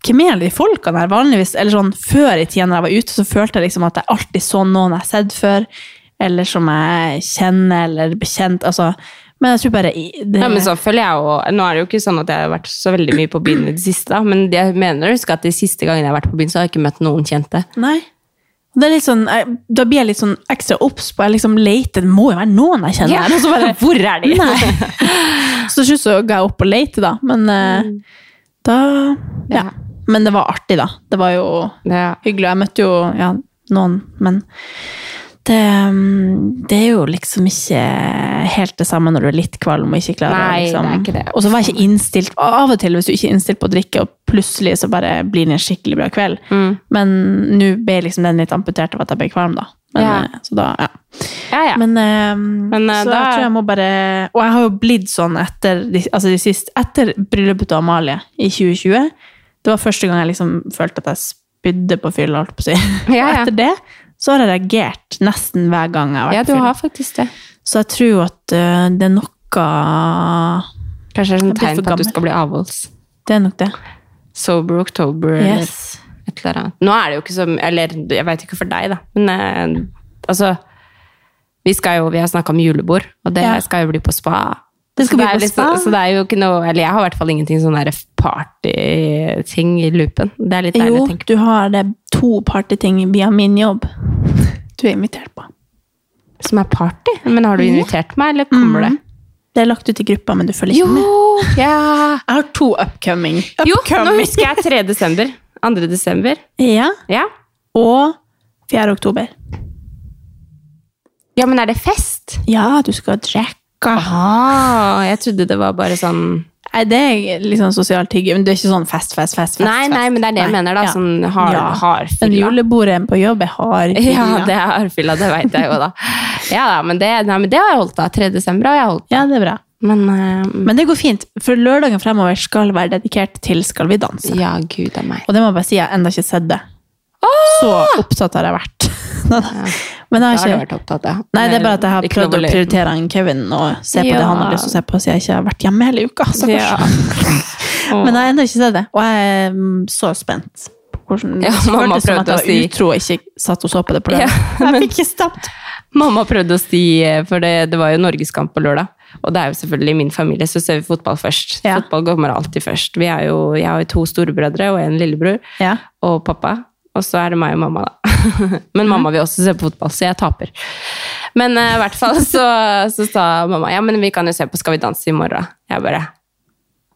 hvem er alle de folkene her vanligvis? Eller sånn, før i tiden når jeg var ute, så følte jeg liksom at jeg alltid så noen jeg har sett før, eller som jeg kjenner, eller bekjent, altså. Men jeg tror bare... i- Det, Ja, men så føler jeg jo, Nå er det jo ikke sånn at jeg har vært så veldig mye på byen i det siste, da, men jeg mener husk at de siste gangene jeg har vært på byen, så har jeg ikke møtt noen kjente. Nei. Og Det er litt sånn, jeg, da blir jeg litt sånn ekstra opps på, jeg liksom leter, det må jo være noen jeg kjenner. her, og så bare, Hvor er de? nei. Så til slutt så ga jeg opp å lete da, men eh, da, ja. Ja. Men det var artig da, det var jo Ja. hyggelig. Jeg møtte jo ja, noen, men det, mm, det er jo liksom ikke helt det samme når du er litt kvalm og ikke klarer å Nei, det er liksom. ikke det. Og så var jeg ikke innstilt og Av og til, hvis du ikke er innstilt på å drikke, og plutselig så bare blir det en skikkelig bra kveld. Mm. Men nå ble liksom den litt amputert av at jeg ble kvalm, da. Men, Ja. eh, Så da, ja. Ja, ja. Men, eh, Men, eh, så da- jeg tror jeg må bare Og jeg har jo blitt sånn etter, de, altså de siste, etter bryllupet til Amalie i 2020. Det var første gang jeg liksom følte at jeg spydde på fylla, holdt på å si. Ja, Og ja. etter det så har jeg reagert nesten hver gang jeg har Ja, vært du på har fylla. faktisk det. Så jeg tror jo at eh, det er noe Kanskje det er Jeg sånn blir tegn for på at du gammel. skal bli avholds. Det er nok det. Sober October Yes. eller et eller annet. Nå er det jo ikke som Eller jeg veit ikke for deg, da. Men eh, altså Vi, skal jo, vi har snakka om julebord, og det Ja. skal jo bli på spa. Det skal Så bli er på litt- spa. Så det er jo ikke noe Eller jeg har i hvert fall ingenting sånn derre partyting i loopen. Det er litt deilig Jo, å tenke du har det to partyting via min jobb. Du er invitert på. på. Som er party. Men har du invitert meg, eller kommer det? Det er lagt ut i gruppa, men du følger ikke Mm. Jo! med. Ja! Jeg har to upcoming. Jo, nå husker jeg 3. desember. 2. desember. Ja, Ja. og 4. oktober. ja, men er det fest? Ja, du skal drikke. Ah, jeg trodde det var bare sånn Nei, det er litt sånn sosialt hygge, men det er ikke sånn fest, fest, fest. fest Nei, nei, men det er det jeg mener da, sånn hard- hardfylla. Men julebordet på jobb er hardfylla. Ja, det er arvfylla, det veit jeg jo, da. Ja da, men det, nei, men det har jeg holdt av. 3. desember har jeg holdt. Ja, det er bra. Men, eh, Men det går fint, for lørdagen fremover skal være dedikert til Skal vi danse. ja, gud a meg. Og det må jeg bare si, jeg har enda ikke sett det. Så opptatt har jeg vært. Nei, nei. Men Da jeg har har du ikke... vært opptatt, ja. Nei, det er bare at jeg har Ikke lov prøvd å løye. prioritere han Kevin og se på Ja. det han har lyst til å se på, siden jeg ikke har vært hjemme hele uka. stakkars. Ja. Men jeg har ennå ikke sett det, og jeg er mm, så spent. på hvordan Ja, det mamma føltes som at jeg prøvde å si- var utro og ikke satt og så på det på Ja, lørdag. men- Jeg fikk ikke stapt. Mamma prøvde å si, eh, for det, det var jo Norgeskamp på lørdag, og det er jo selvfølgelig min familie, så ser vi fotball først. Ja. Fotball kommer alltid først. Vi er jo, jeg har jo to storebrødre og en lillebror, Ja. og pappa, og så er det meg og mamma da. Mhm. Men mamma vil også se på fotball, så jeg taper. Men eh, i hvert fall så, så sa mamma, ja, men vi kan jo se på Skal vi danse i morgen? Jeg bare,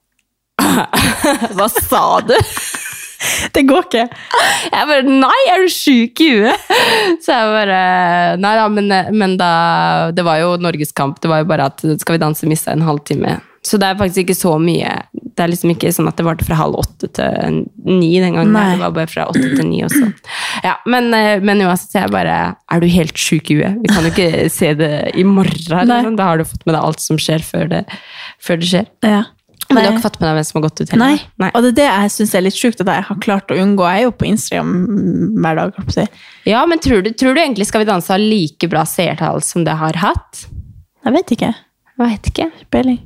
hva sa du? Det går ikke. Jeg bare Nei, er du sjuk i huet? Så jeg bare Nei da, men, men da Det var jo Norgeskamp. Det var jo bare at Skal vi danse mista en halvtime. Så det er faktisk ikke så mye. Det er liksom ikke sånn at det varte fra halv åtte til ni den gangen. Nei. Det var bare fra åtte til ni også. Ja, men, eh, men uansett, jeg bare Er du helt sjuk i huet? Vi kan jo ikke se det i morgen. Nei. Liksom. Da har du fått med deg alt som skjer, før det, før det skjer. Ja. Men Nei. du har ikke fått med deg hvem som har gått ut Nei. heller? Nei. og det er det jeg syns er litt sjukt at jeg har klart å unngå. Jeg er jo på Instagram hver dag. holdt på å si. Ja, men tror du, tror du egentlig Skal vi danse har like bra seertall som det har hatt? Jeg vet ikke. Jeg vet ikke. Peiling.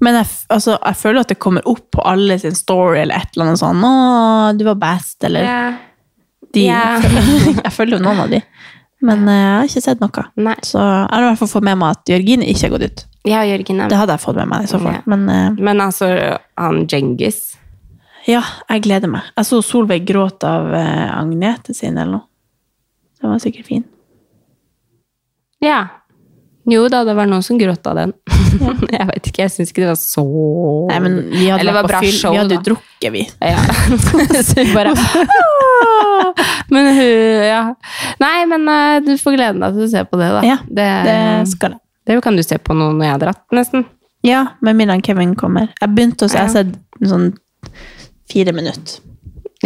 Men jeg, f- altså, jeg føler at det kommer opp på alle sin story eller et eller annet sånn 'Å, du var best', eller de, Ja. Jeg følger jo noen av de. Men eh, jeg har ikke sett noe. Nei. Så jeg har i hvert fall fått med meg at Jørgine ikke har gått ut. Ja, Jørgen er Det hadde jeg fått med meg i så fall. Ja. Men eh, Men altså, han Djengis ja, jeg gleder meg. Jeg så Solveig gråte av eh, Agnete sin eller noe. Den var sikkert fin. Ja. Jo da, det var noen som gråt av den. jeg vet ikke, jeg syns ikke det var så Nei, men vi hadde Eller det vært var på bra fyll. show, Vi hadde da. jo drukket, vi. Ja. Så vi bare «Åh!» Men hun Ja. Nei, men eh, du får glede deg til å se på det, da. Ja, det, Det skal jeg. det kan du se på nå når jeg har dratt, nesten. Ja, med mindre han Kevin kommer. Jeg begynte å se, jeg har Ja. sett sånn fire minutter.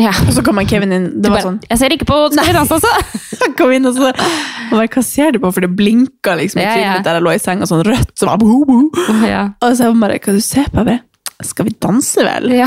Ja. Og så kom han Kevin inn. Du Det var bare, sånn Jeg ser ikke på Skal vi danse, altså! Han kom inn og så og bare, Hva ser du på? For det blinka liksom i Ja, trynet ja. mitt der jeg lå i senga, sånn rødt. Så bare, bo, bo. ja. Og så jeg bare Hva du ser på? Jeg bare, Skal vi danse, vel? Ja.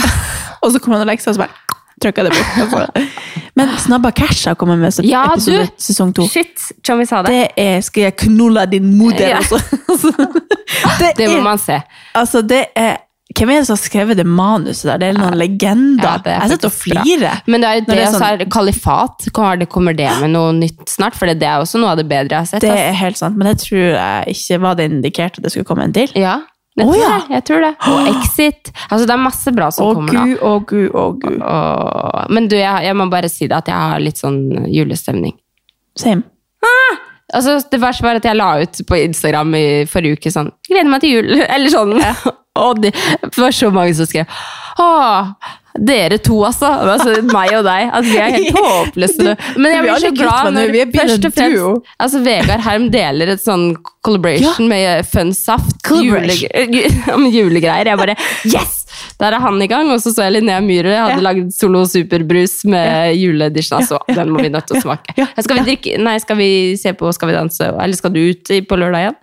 Og så kom han og leksa, og så bare trykka det bort. Altså. Men Snabba Cash har kommet med så, Ja, episode du. sesong to. Shit, som vi sa det. Det er Skal jeg knulla din moder? Ja. Altså. Det, Det må er, man se. altså, det er hvem er det som har skrevet det manuset der? Det er noen legender. Ja, det er jeg sitter og faktisk bra. flirer. Men det er jo Når det, sånn- og så er det kalifat. Kommer det, kommer det med noe nytt snart? For det er også noe av det bedre jeg har sett. Det altså. ass. er helt sant, men jeg tror jeg ikke var det indikert at det skulle komme en til. Ja, Å, jeg, tror ja. det, jeg tror det. Og Exit. Altså, det er masse bra som Å kommer gud, å gud, å gud. da. Og, men du, jeg, jeg må bare si det at jeg har litt sånn julestemning. Same. Altså, det verste var at jeg la ut på Instagram i forrige uke sånn 'Gleder meg til jul', eller sånn. Og det var så mange som skrev 'Å, Dere to, altså. altså meg og deg. At vi er helt håpløse. Men Vi er jeg blir så alle glad guttene, når vi er blitt først en og fremst duo. altså, Vegard Herm deler et sånn collaboration med eh, Fun Saft. Collaboration. jule- om julegreier. Jeg bare Yes! Der er han i gang. Og så så jeg Linnea Myhre. Jeg hadde lagd Solo Superbrus med juleedition. Altså, den må vi nødt til å smake. Skal vi drikke Nei, skal vi se på Skal vi danse? Eller skal du ut i- på lørdag igjen?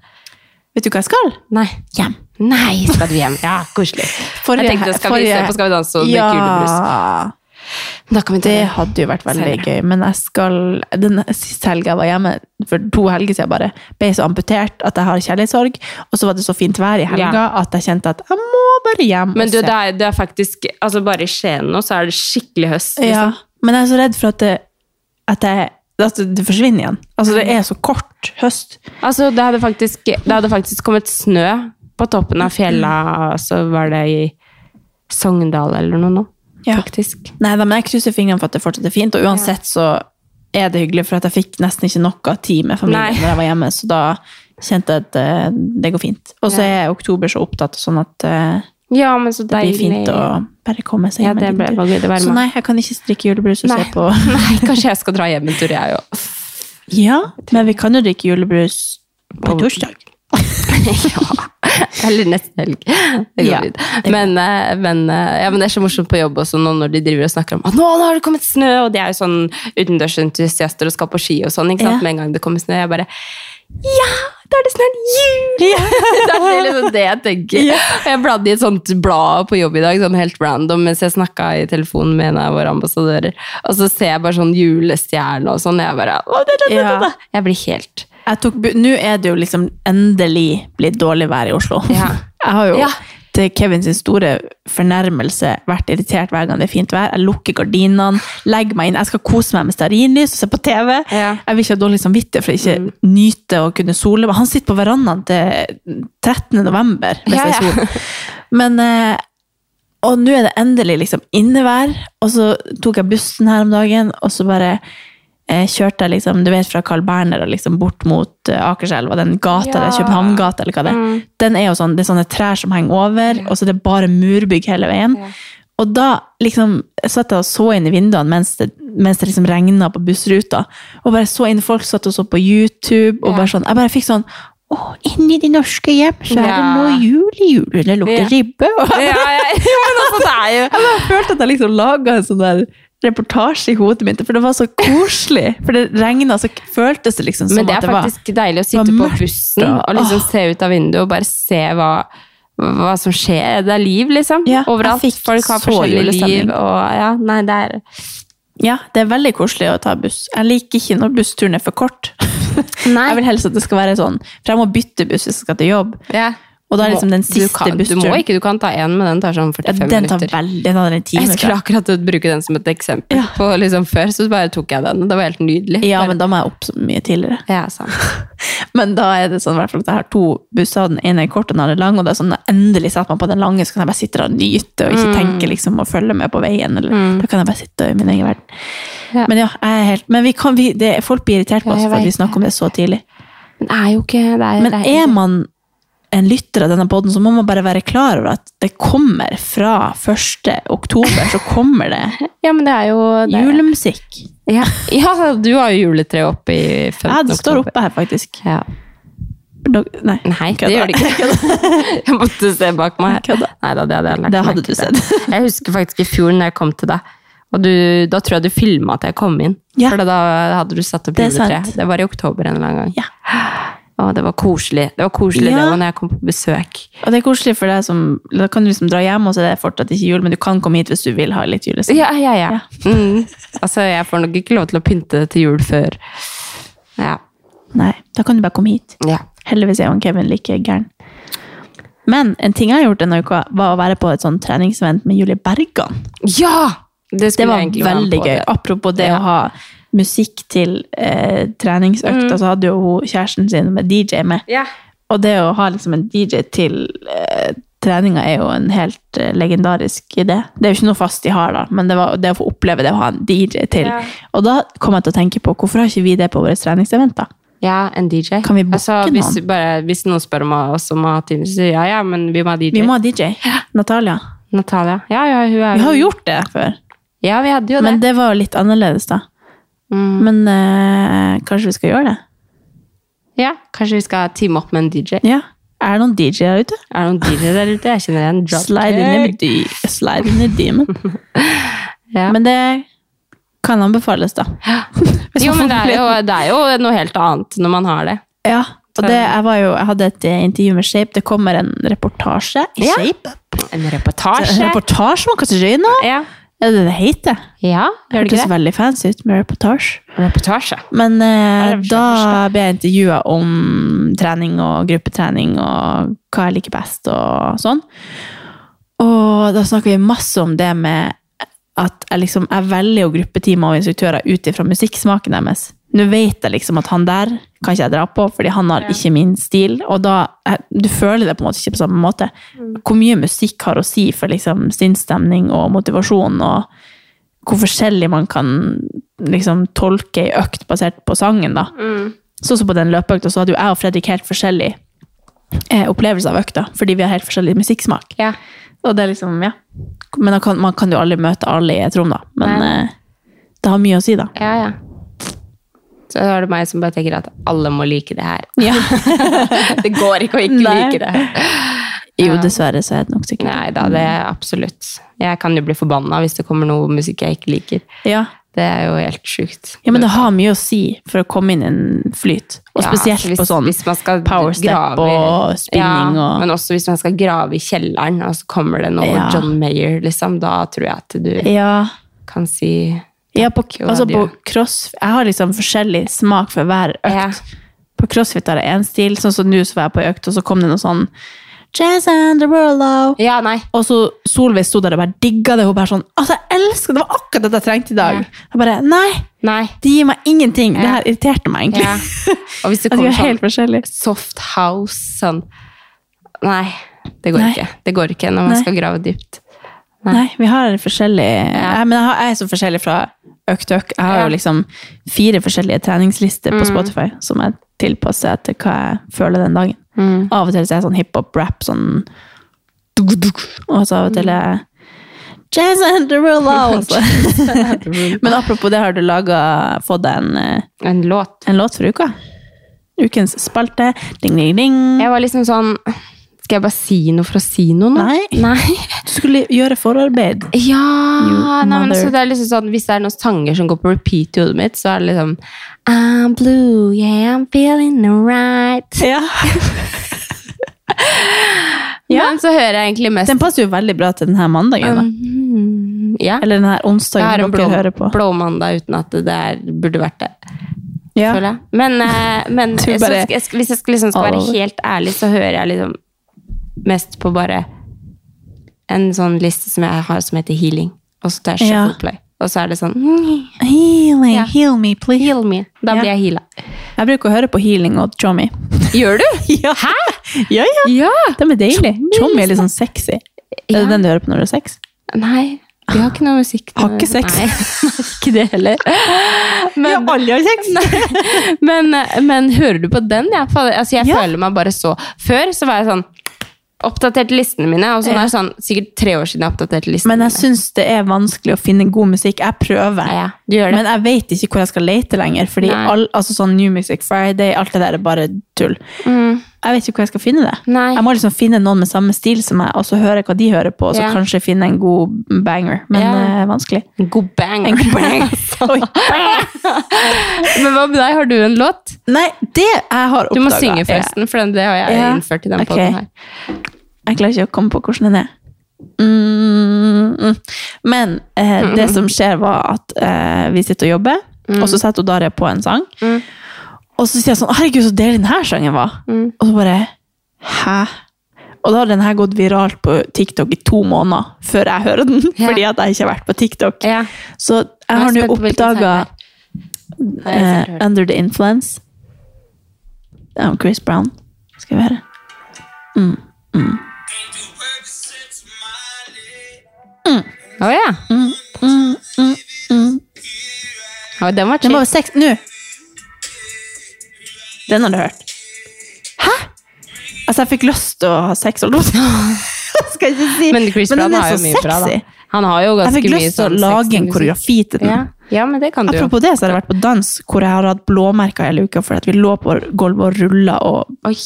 Vet du hva jeg skal? Nei. Hjem. Nei, skal du hjem? Ja, koselig. Forrige- jeg tenkte, skal vi forrige- se på Skal vi danse og drikke Ja. julebrus? det hadde jo vært veldig senere. gøy, men jeg skal den siste helga jeg var hjemme, for to helger siden bare, ble jeg så amputert at jeg har kjærlighetssorg, og så var det så fint vær i helga Ja. at jeg kjente at jeg må bare hjem Men og du, se. det er, det er faktisk altså Bare i Skien nå, så er det skikkelig høst. Ja, Liksom. men jeg er så redd for at det, at jeg, at det forsvinner igjen. Altså, det er så kort høst. Altså, det hadde, faktisk, det hadde faktisk kommet snø på toppen av fjella, så var det i Sogndal eller noe nå. Faktisk. Nei, da, men jeg krysser fingrene for at det fortsatt er fint, og uansett så er det hyggelig, for at jeg fikk nesten ikke nok av tid med familien Nei. når jeg var hjemme, så da kjente jeg at eh, det går fint. Og så er oktober så opptatt, sånn at eh, Ja, men så det deilig. blir fint å bare komme seg Ja, hjem. en det liten ble- tur. var gøy, det var så varmt. nei, jeg kan ikke strikke julebrus og Nei. se på. Nei, kanskje jeg skal dra hjem en tur, jeg òg. Ja, men vi kan jo drikke julebrus på torsdag. Eller neste helg. Det går Ja, fint. Men, eh, men, eh, ja, men det er så morsomt på jobb også nå når de driver og snakker om at nå, nå har det kommet snø, og de er jo sånn utendørsentusiaster og skal på ski og sånn. ikke sant? Ja. Med en gang det kommer snø, jeg bare Ja, da er det snart jul! det er liksom det jeg tenker. Og jeg bladde i et sånt blad på jobb i dag, sånn helt random, mens jeg snakka i telefonen med en av våre ambassadører, og så ser jeg bare sånn julestjerne og sånn, og jeg bare «Å, da, da, da, da, da». Jeg blir helt Jeg tok, bu- nå er det jo liksom endelig blitt dårlig vær i Oslo. Jeg har jo Ja. til Kevin sin store fornærmelse vært irritert hver gang det er fint vær. Jeg lukker gardinene, legger meg inn. Jeg skal kose meg med stearinlys og se på TV. Jeg vil ikke ha dårlig samvittighet for å Mm. ikke nyte å kunne sole. meg. Han sitter på verandaen til 13. november hvis Ja, det ja. er sol. Men eh, og nå er det endelig liksom innevær, og så tok jeg bussen her om dagen, og så bare eh, kjørte jeg liksom, du vet fra Carl Berner og liksom bort mot eh, Akerselva, den gata, Ja. Mm. der, Københavngata eller hva det er. Den er jo sånn, det er sånne trær som henger over, og så er det bare murbygg hele veien. Og da liksom satt jeg og så inn i vinduene mens det, mens det liksom regnet på bussruta, og bare så inn folk satt og så på YouTube, og bare sånn, jeg bare fikk sånn, å, inni de norske hjem, så er det Ja. nå jul i jul, det lukter Ja. ribbe, og Ja, ja, ja, men altså, det er jo jeg bare følte at jeg liksom laga en sånn der reportasje i hodet mitt, for det var så koselig. For det regna, så føltes det liksom som Men det at er det var faktisk deilig å sitte på bussen og- og liksom se ut av vinduet og bare se hva, hva som skjer. Det er liv, liksom. Overalt. jeg fikk Folk har så forskjellige julestemning. liv. Og, ja, nei, det er Ja, det er veldig koselig å ta buss. Jeg liker ikke når bussturen er for kort. Jeg vil helst at det skal være sånn, for jeg må bytte buss hvis jeg skal til jobb. Og da er liksom den Du siste kan, Du bussturen må ikke, du kan ta én, men den tar sånn 45 ja, Den tar minutter. veldig, den tar en time. Jeg skulle tror akkurat bruke den som et eksempel. På, liksom, før så bare tok jeg den. og Det var helt nydelig. Ja, men da må jeg opp så mye tidligere. Ja, sant. Men da er det sånn i hvert fall at jeg har to busser, den ene er kort og den andre er lang, og det er sånn når jeg endelig setter meg på den lange, så kan jeg bare sitte der og nyte og ikke Mm. tenke liksom og følge med på veien, eller Mm. da kan jeg bare sitte i min egen verden. Men ja, jeg er helt, men vi kan, vi, det, folk blir irritert på Ja, oss jeg for at vet vi snakker om det så tidlig. Men det er jo ikke det er, Men det er man en lytter av denne podden, så må man bare være klar over at det kommer fra 1. oktober, så kommer det Ja, men det er jo det er- julemusikk. Ja. ja, du har jo juletreet oppe i 15. Ja, det står oktober. oppe her faktisk. Ja. Dog- Nei, Nei, det gjør det ikke. Jeg måtte se bak meg. her. Neida, det hadde jeg lagt Det hadde merke du til. Jeg husker faktisk i fjor når jeg kom til deg, og du, da tror jeg du filma at jeg kom inn. Ja. For da hadde du satt opp Det er sant. juletre. Det var i oktober en eller annen gang. Å, det var koselig. Det var koselig Ja. det var når jeg kom på besøk. Og det er koselig for deg som Da kan du liksom dra hjem, og så er det fortsatt ikke jul, men du kan komme hit hvis du vil ha litt liksom. julestemning. Ja, ja, ja. Mm. Altså, jeg får nok ikke lov til å pynte til jul før. Ja. Nei, da kan du bare komme hit. Ja. Heldigvis er jo Kevin like gæren. Men en ting jeg har gjort denne uka, var å være på et sånn treningsevent med Julie Bergan. ja! Det, Det skulle var jeg egentlig være med veldig på, gøy. det. Apropos det å ha musikk til eh, Mm. treningsøkta, så hadde jo hun kjæresten sin med DJ med. Ja. Og det å ha liksom en DJ til eh, treninga er jo en helt eh, legendarisk idé. Det er jo ikke noe fast de har, da, men det, var, det å få oppleve det å ha en DJ til. Ja. Og da kom jeg til å tenke på hvorfor har ikke vi det på våre treningsevent, da? Ja, en DJ. Kan vi booke altså, hvis, noen? bare, hvis noen spør om oss om å ha time, så sier jeg ja, ja, men vi må ha DJ. Vi må ha DJ. Natalia. Natalia. Ja, ja, hun er Vi har jo gjort det før. Ja, vi hadde jo det. Mm. Men det var jo litt annerledes, da. Men eh, kanskje vi skal gjøre det? Ja, kanskje vi skal teame opp med en DJ. Ja. Er det noen DJ-er ute? Er det noen DJ der ute? Jeg kjenner en dropkick. Slide in the, de slide in the demon. Men det kan anbefales, da. Jo, men det er jo, det er jo noe helt annet når man har det. Ja, og det, jeg, var jo, jeg hadde et eh, intervju med Shape. Det kommer en reportasje. i Ja. Ah, Shape? En Det er reportasje. en Reportasje om Katarina? Ja. Er det det det heter? Ja, Det gjør det hørtes ikke det? veldig fancy ut med reportasje. Reportasje. Men eh, Er det da ble jeg intervjua om trening og gruppetrening og hva jeg liker best og sånn. Og da snakker vi masse om det med at jeg liksom jeg velger jo gruppetimer og instruktører ut ifra musikksmaken deres. Nå vet jeg liksom at han der kan ikke jeg dra på, fordi han har ikke min stil. Og da jeg, Du føler det på en måte ikke på samme måte. Mm. Hvor mye musikk har å si for liksom sinnsstemning og motivasjon, og hvor forskjellig man kan liksom tolke ei økt basert på sangen, da. Mm. Sånn som på den løpeøkta, så hadde jo jeg og Fredrik helt forskjellig eh, opplevelse av økta, fordi vi har helt forskjellig musikksmak. Ja. Og det er liksom, ja. Men da kan, man kan jo aldri møte alle i et rom, da. Men Nei. eh, det har mye å si, da. Ja, ja. Så da er det meg som bare tenker at alle må like det her. Ja. det går ikke å ikke Nei. like det her. Jo, Ja. dessverre så er det nok sikkert. Nei da, det er absolutt. Jeg kan jo bli forbanna hvis det kommer noe musikk jeg ikke liker. Ja. Det er jo helt sjukt. ja, men det har mye å si for å komme inn i en flyt. Og Ja, spesielt altså hvis- på sånn hvis man skal power step grave- og spinning ja, og- Men også hvis man skal grave i kjelleren, og så kommer det noe Ja. John Mayer, liksom. Da tror jeg at du Ja. kan si Ja, på, og altså på adjø. cross, jeg har liksom forskjellig smak for hver økt. Ja. På crossfit har jeg én stil, sånn som nå så var jeg på ei økt, og så kom det noe sånn Jazz and the world out. Ja, nei. Og så Solveig sto der og bare digga det. Hun bare sånn Altså, jeg elsker det! Det var akkurat dette jeg trengte i dag. Jeg bare Nei! Nei. Det gir meg ingenting. Det her irriterte meg egentlig. Ja. Og hvis At Altså, det vi kommer er helt sånn forskjellige. soft house, sånn Nei, det går Nei. ikke. Det går ikke når man Nei. skal grave dypt. Nei, vi har forskjellig jeg, Men jeg, har, jeg er så forskjellig fra økt til økt. Jeg har Ja. jo liksom fire forskjellige treningslister på Spotify som jeg tilpasser etter hva jeg føler den dagen. Av og til så er jeg sånn hiphop-rap, sånn duk, duk, Og så av og til er jeg Jazz and the real out. Mm. Men apropos det, har du laget, fått deg en, eh, En låt. en låt for uka? Ukens spalte. Ding, ding, ding. Jeg var liksom sånn Skal jeg bare si noe for å si noe nå? Nei. Nei. Du skulle gjøre forarbeid. Ja! You Nei, men mother. så det er liksom sånn, hvis det er noen sanger som går på repeat i hodet mitt, så er det liksom I'm blue, yeah, I'm feeling right. Ja. Men så hører jeg egentlig mest Den Mm-hmm. passer jo veldig bra til denne mandagen. Um, da. ja. Eller denne Jeg har onsdagen en dere hører på. blå, blåmandag uten at det der burde vært det. Ja. føler jeg. Men, eh, men Du jeg bare- skal- jeg skal- hvis jeg skal, liksom, skal være All- helt ærlig, så hører jeg liksom mest på bare en sånn liste som jeg har som heter Healing. Og så tar jeg Ja. Shuffle Play. Og så er det sånn mm, Healing, Ja. heal me, please. Heal me. Da Ja. blir jeg heala. Jeg bruker å høre på healing og chommy. Gjør du? Ja. Hæ? Ja, ja. Ja! De er deilig. Chommy, Chommy er litt sånn sexy. Er Ja. det den du hører på når du har sex? Nei, vi har ikke noe musikk. Har ikke sex. Nei, ikke det heller. Ja, alle har sex! Men, men hører du på den? Jeg, fader, altså, jeg Ja. føler meg bare så Før så var jeg sånn Oppdaterte listene mine, og så nå er det sånn, sikkert tre år siden jeg oppdaterte listene Men jeg syns det er vanskelig å finne god musikk. Jeg prøver. Ja, ja, du gjør det. Men jeg vet ikke hvor jeg skal lete lenger. Fordi Nei. all, altså sånn New Music Friday, alt det der er bare tull. Jeg vet ikke hvor jeg skal finne det. Mm. Nei. Jeg må liksom finne noen med samme stil som meg, og så høre hva de hører på, og så Ja. kanskje finne en god banger. Men Ja. eh, vanskelig. En god bang. En god bang. Altså. Oi. Men hva med deg, har du en låt? Nei, det jeg har oppdaga Du må synge forresten, for den, det har jeg Ja. innført i den Ok. podden her. Jeg klarer ikke å komme på hvordan den er. Mm, mm. Men eh, det som skjer, var at eh, vi sitter og jobber, Mm. og så setter hun Daria på en sang. Og så sier jeg sånn 'Herregud, så deilig denne sangen var'. Mm. Og så bare 'Hæ?' Og da har den her gått viralt på TikTok i to måneder før jeg hører den. Ja. Fordi at jeg ikke har vært på TikTok. Ja. Så jeg har Jeg nå er spent på hvilken sang oppdaga det er. Nei, jeg har eh, sikkert hørt. 'Under the Influence' av Chris Brown. Skal vi høre? eh, Å ja. Mm, Å, den var Den chill. var over seks Nå! Den har du hørt. Hæ? Altså, jeg fikk lyst til å ha sex, holdt jeg på å si. skal jeg ikke si. Men Chris Men den Brown er har jo så mye bra, sexy. da. Han har jo Jeg ganske fikk mye lyst til å sånn lage en sexy musikk. koreografi til den. Ja. ja, men det kan du jo. Apropos det, så har jeg vært på dans hvor jeg har hatt blåmerker hele uka fordi at vi lå på gulvet og rulla og Oi.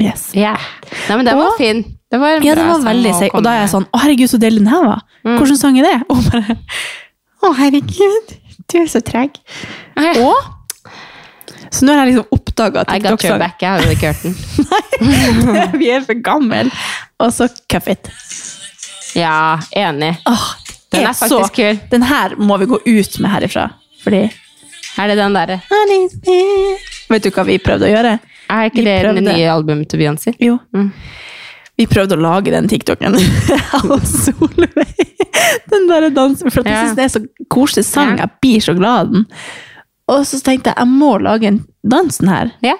Yes. Nei, men den var Og- fin. Det var en Ja, bra den var sang veldig å seig. Og da er jeg komme sånn Å, herregud, så deilig den her var. Mm. Hvordan sang er det? Og bare Å, herregud, du er så treg. med. Og Så nå har jeg liksom oppdaga I got your TikTok-sang. back, jeg har jo ikke hørt den. Vi er for gamle. Og så cuff it. Ja, enig. Den er så- faktisk kul. Den her må vi gå ut med herifra. Fordi Er det den derre? Vet du hva vi prøvde å gjøre? Er ikke Vi det det prøvde. nye albumet til Beyoncé? Jo. Mm. Vi prøvde å lage den TikToken. Og Solveig. Den der dansen. For at jeg Ja. synes det er så koselig sang. Jeg blir så glad av den. Og så tenkte jeg, jeg må lage en dansen her. Ja.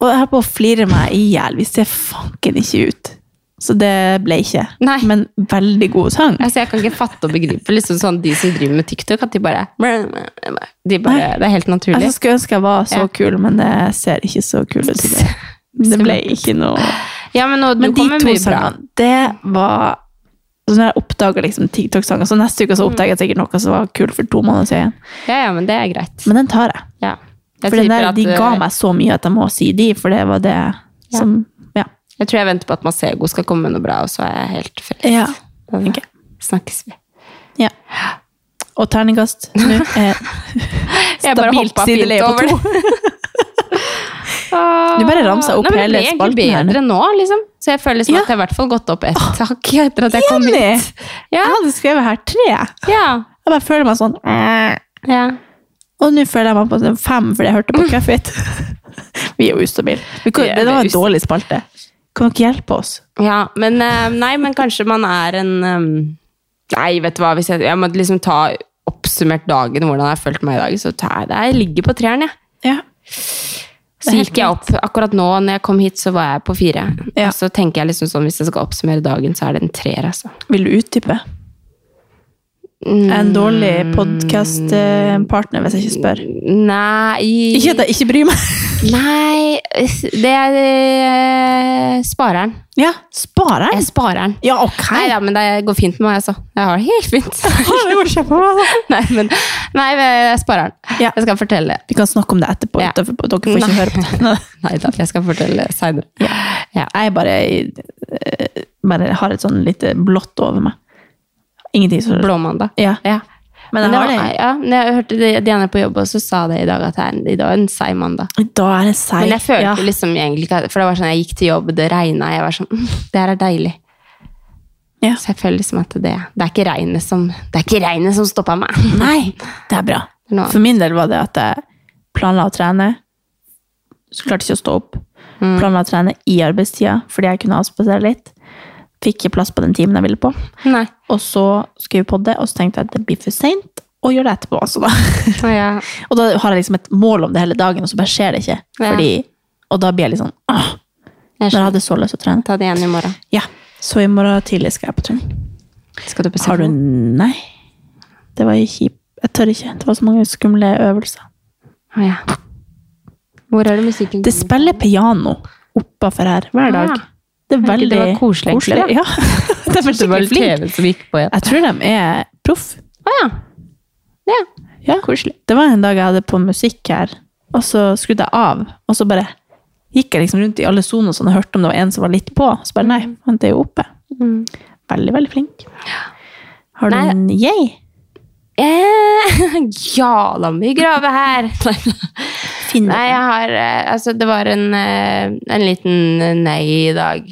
Og jeg holdt på å flire meg i hjel. Vi ser fanken ikke ut. Så det ble ikke. Nei. Men veldig god sang. Altså, jeg kan ikke fatte og begripe liksom sånn, de som driver med TikTok, at de bare, de bare Nei. Altså, Det er helt naturlig. Jeg skulle ønske jeg var så Ja. kul, men jeg ser ikke så kul ut. i det. Det ble ikke noe Ja, men nå, Men nå de kommer to mye bra. sangene, det var så Når jeg oppdaga liksom TikTok-sanger, så neste uke så Mm. oppdager jeg sikkert noe som var kult for to måneder siden. Ja, ja, men det er greit. Men den tar jeg. Ja. Jeg For den tipper der, at, de ga øh, meg så mye at jeg må si de, for det var det som Ja. Jeg tror jeg venter på at Masego skal komme med noe bra, og så er jeg helt frelst. Ja. Da Ok. snakkes vi. ja. Og terningkast nå er Jeg bare hoppet fint sideleie over det. to. Du bare ramsa opp Nei, men hele Det blir spalten egentlig her. bedre nå, liksom. Så jeg føler liksom at jeg har i hvert fall gått opp ett hakk etter at jeg kom Enig! hit. Ja, Jeg hadde skrevet her tre. ja, Jeg bare føler meg sånn ja. Og nå føler jeg meg på sånn fem fordi jeg hørte på Cuffit. Vi er jo ustabile. Vi kan- Vi er Det var en ust- dårlig spalte. Kan dere hjelpe oss? ja men, eh, nei, men kanskje man er en ehm, Nei, vet du hva, hvis jeg, jeg må liksom ta oppsummert dagen, hvordan jeg har følt meg i dag, så tar jeg det. Jeg ligger på treeren, jeg. Ja. Så Det er helt gikk jeg opp. Akkurat nå, når jeg kom hit, så var jeg på fire. Ja. Og så tenker jeg liksom sånn, hvis jeg skal oppsummere dagen, så er det en treer, altså. Vil du utdype? Jeg er en dårlig podkastpartner hvis jeg ikke spør. Nei Ikke at jeg ikke bryr meg. Nei, det er eh, spareren. Ja, sparer Jeg jeg? er spareren. Ja, ok. Nei da, men det går fint med meg, altså. Jeg har det helt fint. Det går kjempebra, da. nei, men Nei, jeg er spareren. Ja. Jeg skal fortelle. Vi kan snakke om det etterpå. Ja. utenfor- Dere får ikke Nei. høre på det. Nei. Nei da, jeg skal fortelle seinere. Ja. Jeg er bare, eh, bare har et sånn lite blått over meg. Ingenting som Blåmandag. Ja. Ja. Men jeg det har var- det. Ja, men jeg hørte det- Diana på jobb også sa det i dag, at det er en- i dag er en seig mandag. Da er det seig. Men jeg følte Ja. liksom egentlig ikke at- For det var sånn, jeg gikk til jobb, det regna, jeg var sånn mm, Det her er deilig. Ja. Så jeg føler liksom at det, det er ikke regnet som Det er ikke regnet som stoppa meg. Nei, det er bra. Det er noe For min del var det at jeg planla å trene, så klarte jeg ikke å stå opp. Mm. Planla å trene i arbeidstida fordi jeg kunne avspasere litt. Fikk ikke plass på den timen jeg ville på. Nei. Og så skulle vi på det, og så tenkte jeg at det blir for seint å gjøre det etterpå. Altså da. Å, ja. Og da har jeg liksom et mål om det hele dagen, og så bare skjer det ikke. Ja. Fordi, og da blir jeg litt sånn åh, Jeg Men jeg skjønner. hadde så lyst til å trene. Ta det igjen i morgen. Ja. Så i morgen tidlig skal jeg på trening. Skal du på Har du Sephora? Nei. Det var kjipt. Jeg tør ikke. Det var så mange skumle øvelser. Å, ja. Hvor er det musikken? Det spiller piano oppafor her hver dag. Ah. Det er Herregud, veldig det var koselig, egentlig, da. Ja. De er skikkelig flinke. som gikk på igjen. Jeg tror de er proff. Å ja. ja. Ja. Det var en dag jeg hadde på musikk her, og så skrudde jeg av, og så bare gikk jeg liksom rundt i alle soner sånn, og hørte om det var en som var litt på. Så bare Mm. nei, han er jo oppe. Veldig, veldig flink. Har du Nei. en yay? Eh, ja, la meg grave her! Finner Nei, jeg har eh, Altså, det var en, eh, en liten eh, nei i dag.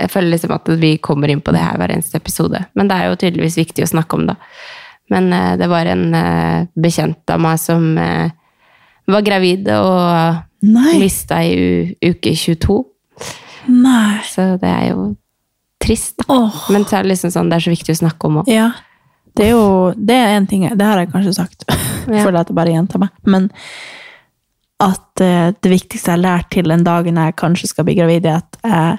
Jeg føler liksom at vi kommer inn på det her hver eneste episode. Men det er jo tydeligvis viktig å snakke om, da. Men eh, det var en eh, bekjent av meg som eh, var gravid og Nei. mista i u uke 22. Nei. Så det er jo trist. da. Åh. Men så er det liksom sånn, det er så viktig å snakke om òg. Ja. Det er jo det er en ting jeg- Det har jeg kanskje sagt. Ja. Føler at jeg bare gjentar meg. Men at eh, det viktigste jeg har lært til den dagen jeg kanskje skal bli gravid, er at jeg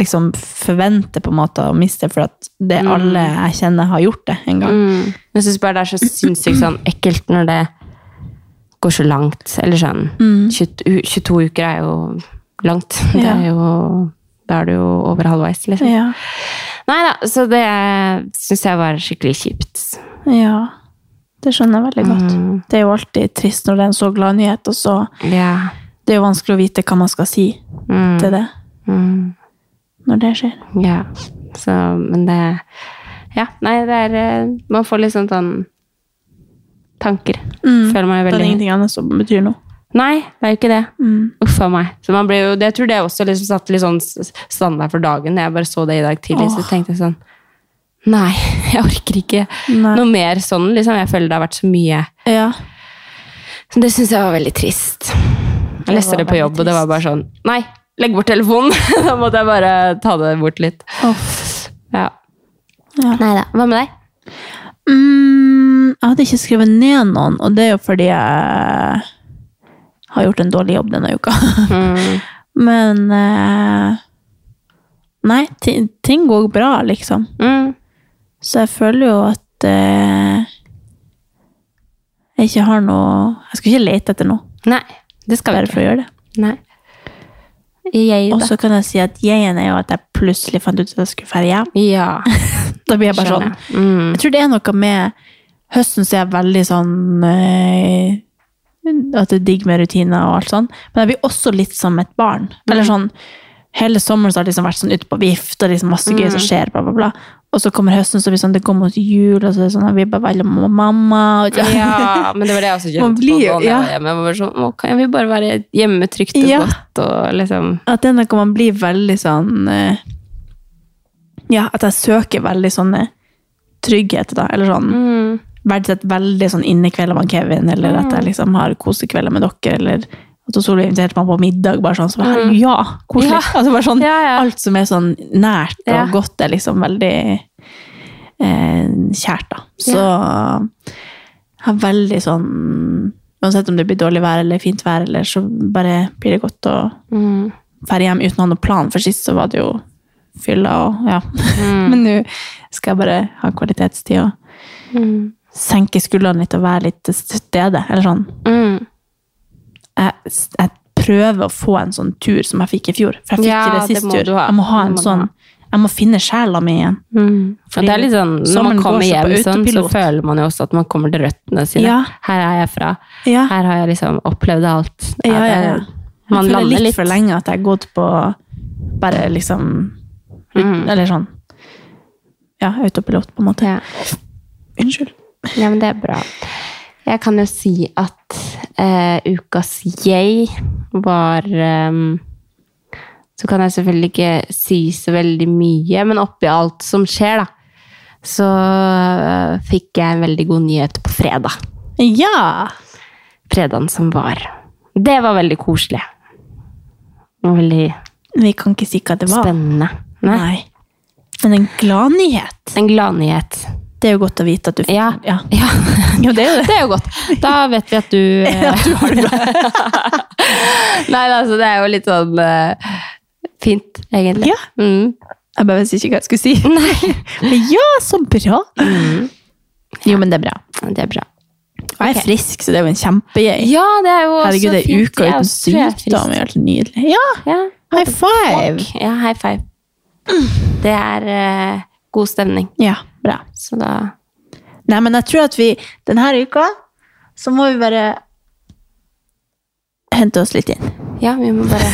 liksom forventer på en måte å miste, for at det alle jeg kjenner, har gjort det en gang. Mm. Jeg syns bare det er så sinnssykt sånn ekkelt når det går så Mm. langt. Eller sånn 22, 22 uker er jo langt. Det Ja. er jo Da er du jo over halvveis, liksom. Ja. Nei da, så det syns jeg var skikkelig kjipt. Mm. Ja, det skjønner jeg veldig godt. Det er jo alltid trist når det er en så glad nyhet, og så Det er jo vanskelig å vite hva man skal si Mm. til det når det skjer. Ja. Så, men det Ja, nei, det er eh, Man får litt sånn sånn tanker. Mm. Føler meg Det er veldig ingenting annet som betyr noe. Nei, det er jo ikke det. Mm. Uff a meg. Så man blir jo, det, jeg tror det også liksom satt litt sånn s- standard for dagen. Jeg bare så det i dag tidlig, så Åh. tenkte jeg sånn Nei, jeg orker ikke Nei. noe mer sånn. liksom. Jeg føler det har vært så mye Ja. Så det syns jeg var veldig trist. Jeg Det leste var det på veldig jobb, og det var bare sånn Nei, legg bort telefonen! da måtte jeg bare ta det bort litt. Ja. Ja. Nei da. Hva med deg? Mm, jeg hadde ikke skrevet ned noen, og det er jo fordi jeg har gjort en dårlig jobb denne uka. Mm. Men eh, Nei, ti- ting går bra, liksom. Mm. Så jeg føler jo at eh, jeg ikke har noe Jeg skal ikke lete etter noe. Nei, det skal vi Bare ikke. for å gjøre det. Nei. Jeg, Og da. så kan jeg si at jeg-en er jo at jeg plutselig fant ut at jeg skulle ferie hjem. Ja. Da blir jeg bare sånn. Skjønner jeg. Mm. Jeg tror det er noe med Høsten så er jeg veldig sånn eh, At det er digg med rutiner og alt sånn. Men jeg blir også litt som et barn. Eller sånn Hele sommeren så har det liksom vært sånn ute på vift, og liksom masse gøy som skjer, bla, bla, bla. Og så kommer høsten, så blir det sånn, det går mot jul, og så er det sånn, jeg blir bare veldig mamma. Og Ja, men det var det jeg også Man kjente på blir jo- da jeg ja. var hjemme. Jeg var bare sånn, å, kan vi bare være hjemme trygt og Ja. godt? Og liksom. At det er noe man blir veldig sånn eh, Ja, at jeg søker veldig sånne tryggheter, da. Eller sånn mm, Verdsetter veldig sånn innekvelder med Kevin, eller at jeg liksom har kosekvelder med dere, eller at Solveig inviterte meg på middag. bare sånn, så bare, Mm. Ja, koselig! Ja. Altså bare sånn, Ja, ja. Alt som er sånn nært og Ja. godt, er liksom veldig eh, kjært, da. Så jeg har veldig sånn Uansett om det blir dårlig vær eller fint vær, eller så bare blir det godt å Mm. drar hjem uten å ha noen plan, for sist så var det jo fylla og ja. Men nå skal jeg bare ha kvalitetstid og Mm. senke skuldrene litt og være litt til stede. Eller sånn. Mm. Jeg, jeg prøver å få en sånn tur som jeg fikk i fjor, for jeg fikk Ja, ikke det det sist må tur. du ha. Jeg må ha Det en må du sånn ha. jeg må finne sjela mi igjen. mm.» Og det er litt sånn, Når sommeren man går kommer så hjem, på sånn, så autopilot. føler man jo også at man kommer til røttene sine. Ja. Her er jeg fra. Ja. Her har jeg liksom opplevd alt. Ja, ja, ja. At Jeg jeg- Man føler lander litt, litt. for lenge at jeg har gått på bare liksom Mm. Eller sånn Ja, autopilot, på en måte. Ja. Unnskyld. Ja, men det er bra. Jeg kan jo si at eh, ukas jeg var ehm, Så kan jeg selvfølgelig ikke si så veldig mye, men oppi alt som skjer, da, så eh, fikk jeg en veldig god nyhet på fredag. Ja! Fredagen som var. Det var veldig koselig. Og veldig Vi kan ikke si hva det var. spennende. Nei. Nei. Men en gladnyhet. En gladnyhet. Det er jo godt å vite at du Ja. ja. ja. Jo, det er jo det. Det er jo godt. Da vet vi at du eh, Nei, altså, det er jo litt sånn eh, fint, egentlig. Ja. Mm. Jeg bare visste ikke hva jeg skulle si. Men ja, så bra! Mm. Jo, men det er bra. Det er bra. Og jeg er frisk, så det er jo en kjempegjeng. Ja, det er jo også Herregud, det er fint. uka Jeg er uten også- jeg er sykdom. Det er frisk. helt nydelig. Ja, Ja. high five! ja, high five. Det er eh, god stemning. Ja, bra. Så da Nei, men jeg tror at vi denne uka så må vi bare hente oss litt inn. Ja, vi må bare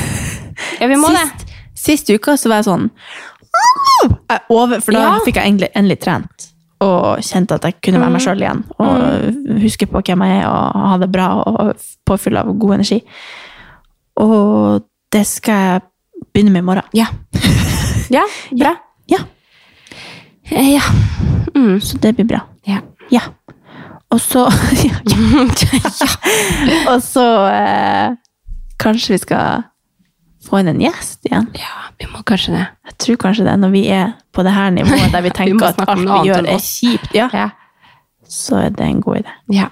Ja, vi må det. sist, sist uka så var jeg sånn jeg over, For da Ja. fikk jeg egentlig endelig trent. Og kjente at jeg kunne Mm. være meg sjøl igjen. Og huske på hvem jeg er, og ha det bra og påfyll av god energi. Og det skal jeg begynne med i morgen. Ja. Ja, bra. Ja, Eh, Ja. Mm. Så det blir bra. ja. Ja. Og så ja, ja. Og så eh, kanskje vi skal få inn en gjest igjen. ja, vi må kanskje det. Jeg tror kanskje det er når vi er på det her nivået der vi Vi tenker må at snakke om alt noe vi annet gjør enn er oss. kjipt, ja, Ja. så er det en god idé. Ja.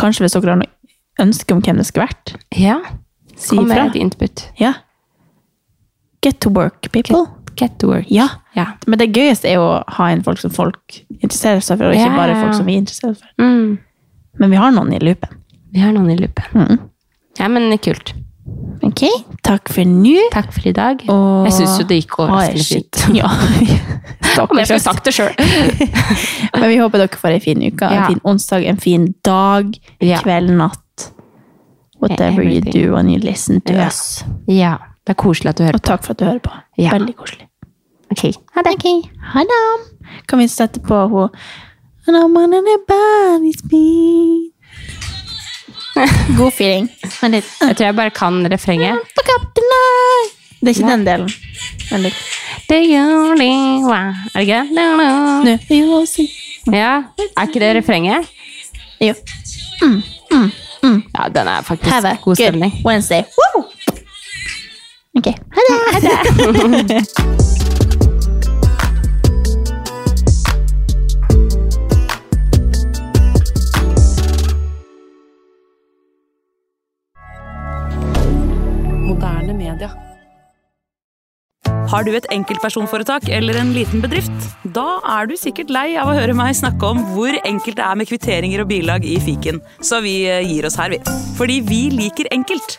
Kanskje hvis dere har noe ønske om hvem det skulle vært, ja. si Kom med ifra. et input. Ja. Get to work, people. Get to work. Ja. Ja. Men det gøyeste er jo å ha inn folk som folk interesserer seg for, og ikke Ja, bare ja, ja. folk som vi interesserer oss for. Mm. Men vi har noen i loopen. Vi har noen i loopen. Mm. Ja, men kult. Men Ok, takk for nå. Takk for i dag. Og... Jeg syns jo det gikk overraskende Oi, shit. fint. Ja. Men jeg skulle sagt det sjøl. Men vi håper dere får en fin uke, Ja. en fin onsdag, en fin dag, kveld, natt. Whatever you Everything. do when you listen to Ja. us. Ja. Det er koselig at du hører Og takk for at du hører på. Ja. Veldig koselig. Ok, ha det. Ha det. Kan vi sette på hun And I'm on anybody's beat. God feeling. Men litt Jeg tror jeg bare kan refrenget. Fuck up tonight. Det er ikke den delen. Men litt Det gjør det, hva? Er det ikke det? No, no. Nå. Jo, si. Ja, er ikke det refrenget? Jo. Mm, mm, mm. Ja, den er faktisk Have a god good stemning. Wednesday. Woo! Ok. Ha det! Ha det. Moderne media. Har du et enkeltpersonforetak eller en liten bedrift? Da er du sikkert lei av å høre meg snakke om hvor enkelt det er med kvitteringer og bilag i fiken, så vi eh, gir oss her, vi. Fordi vi liker enkelt.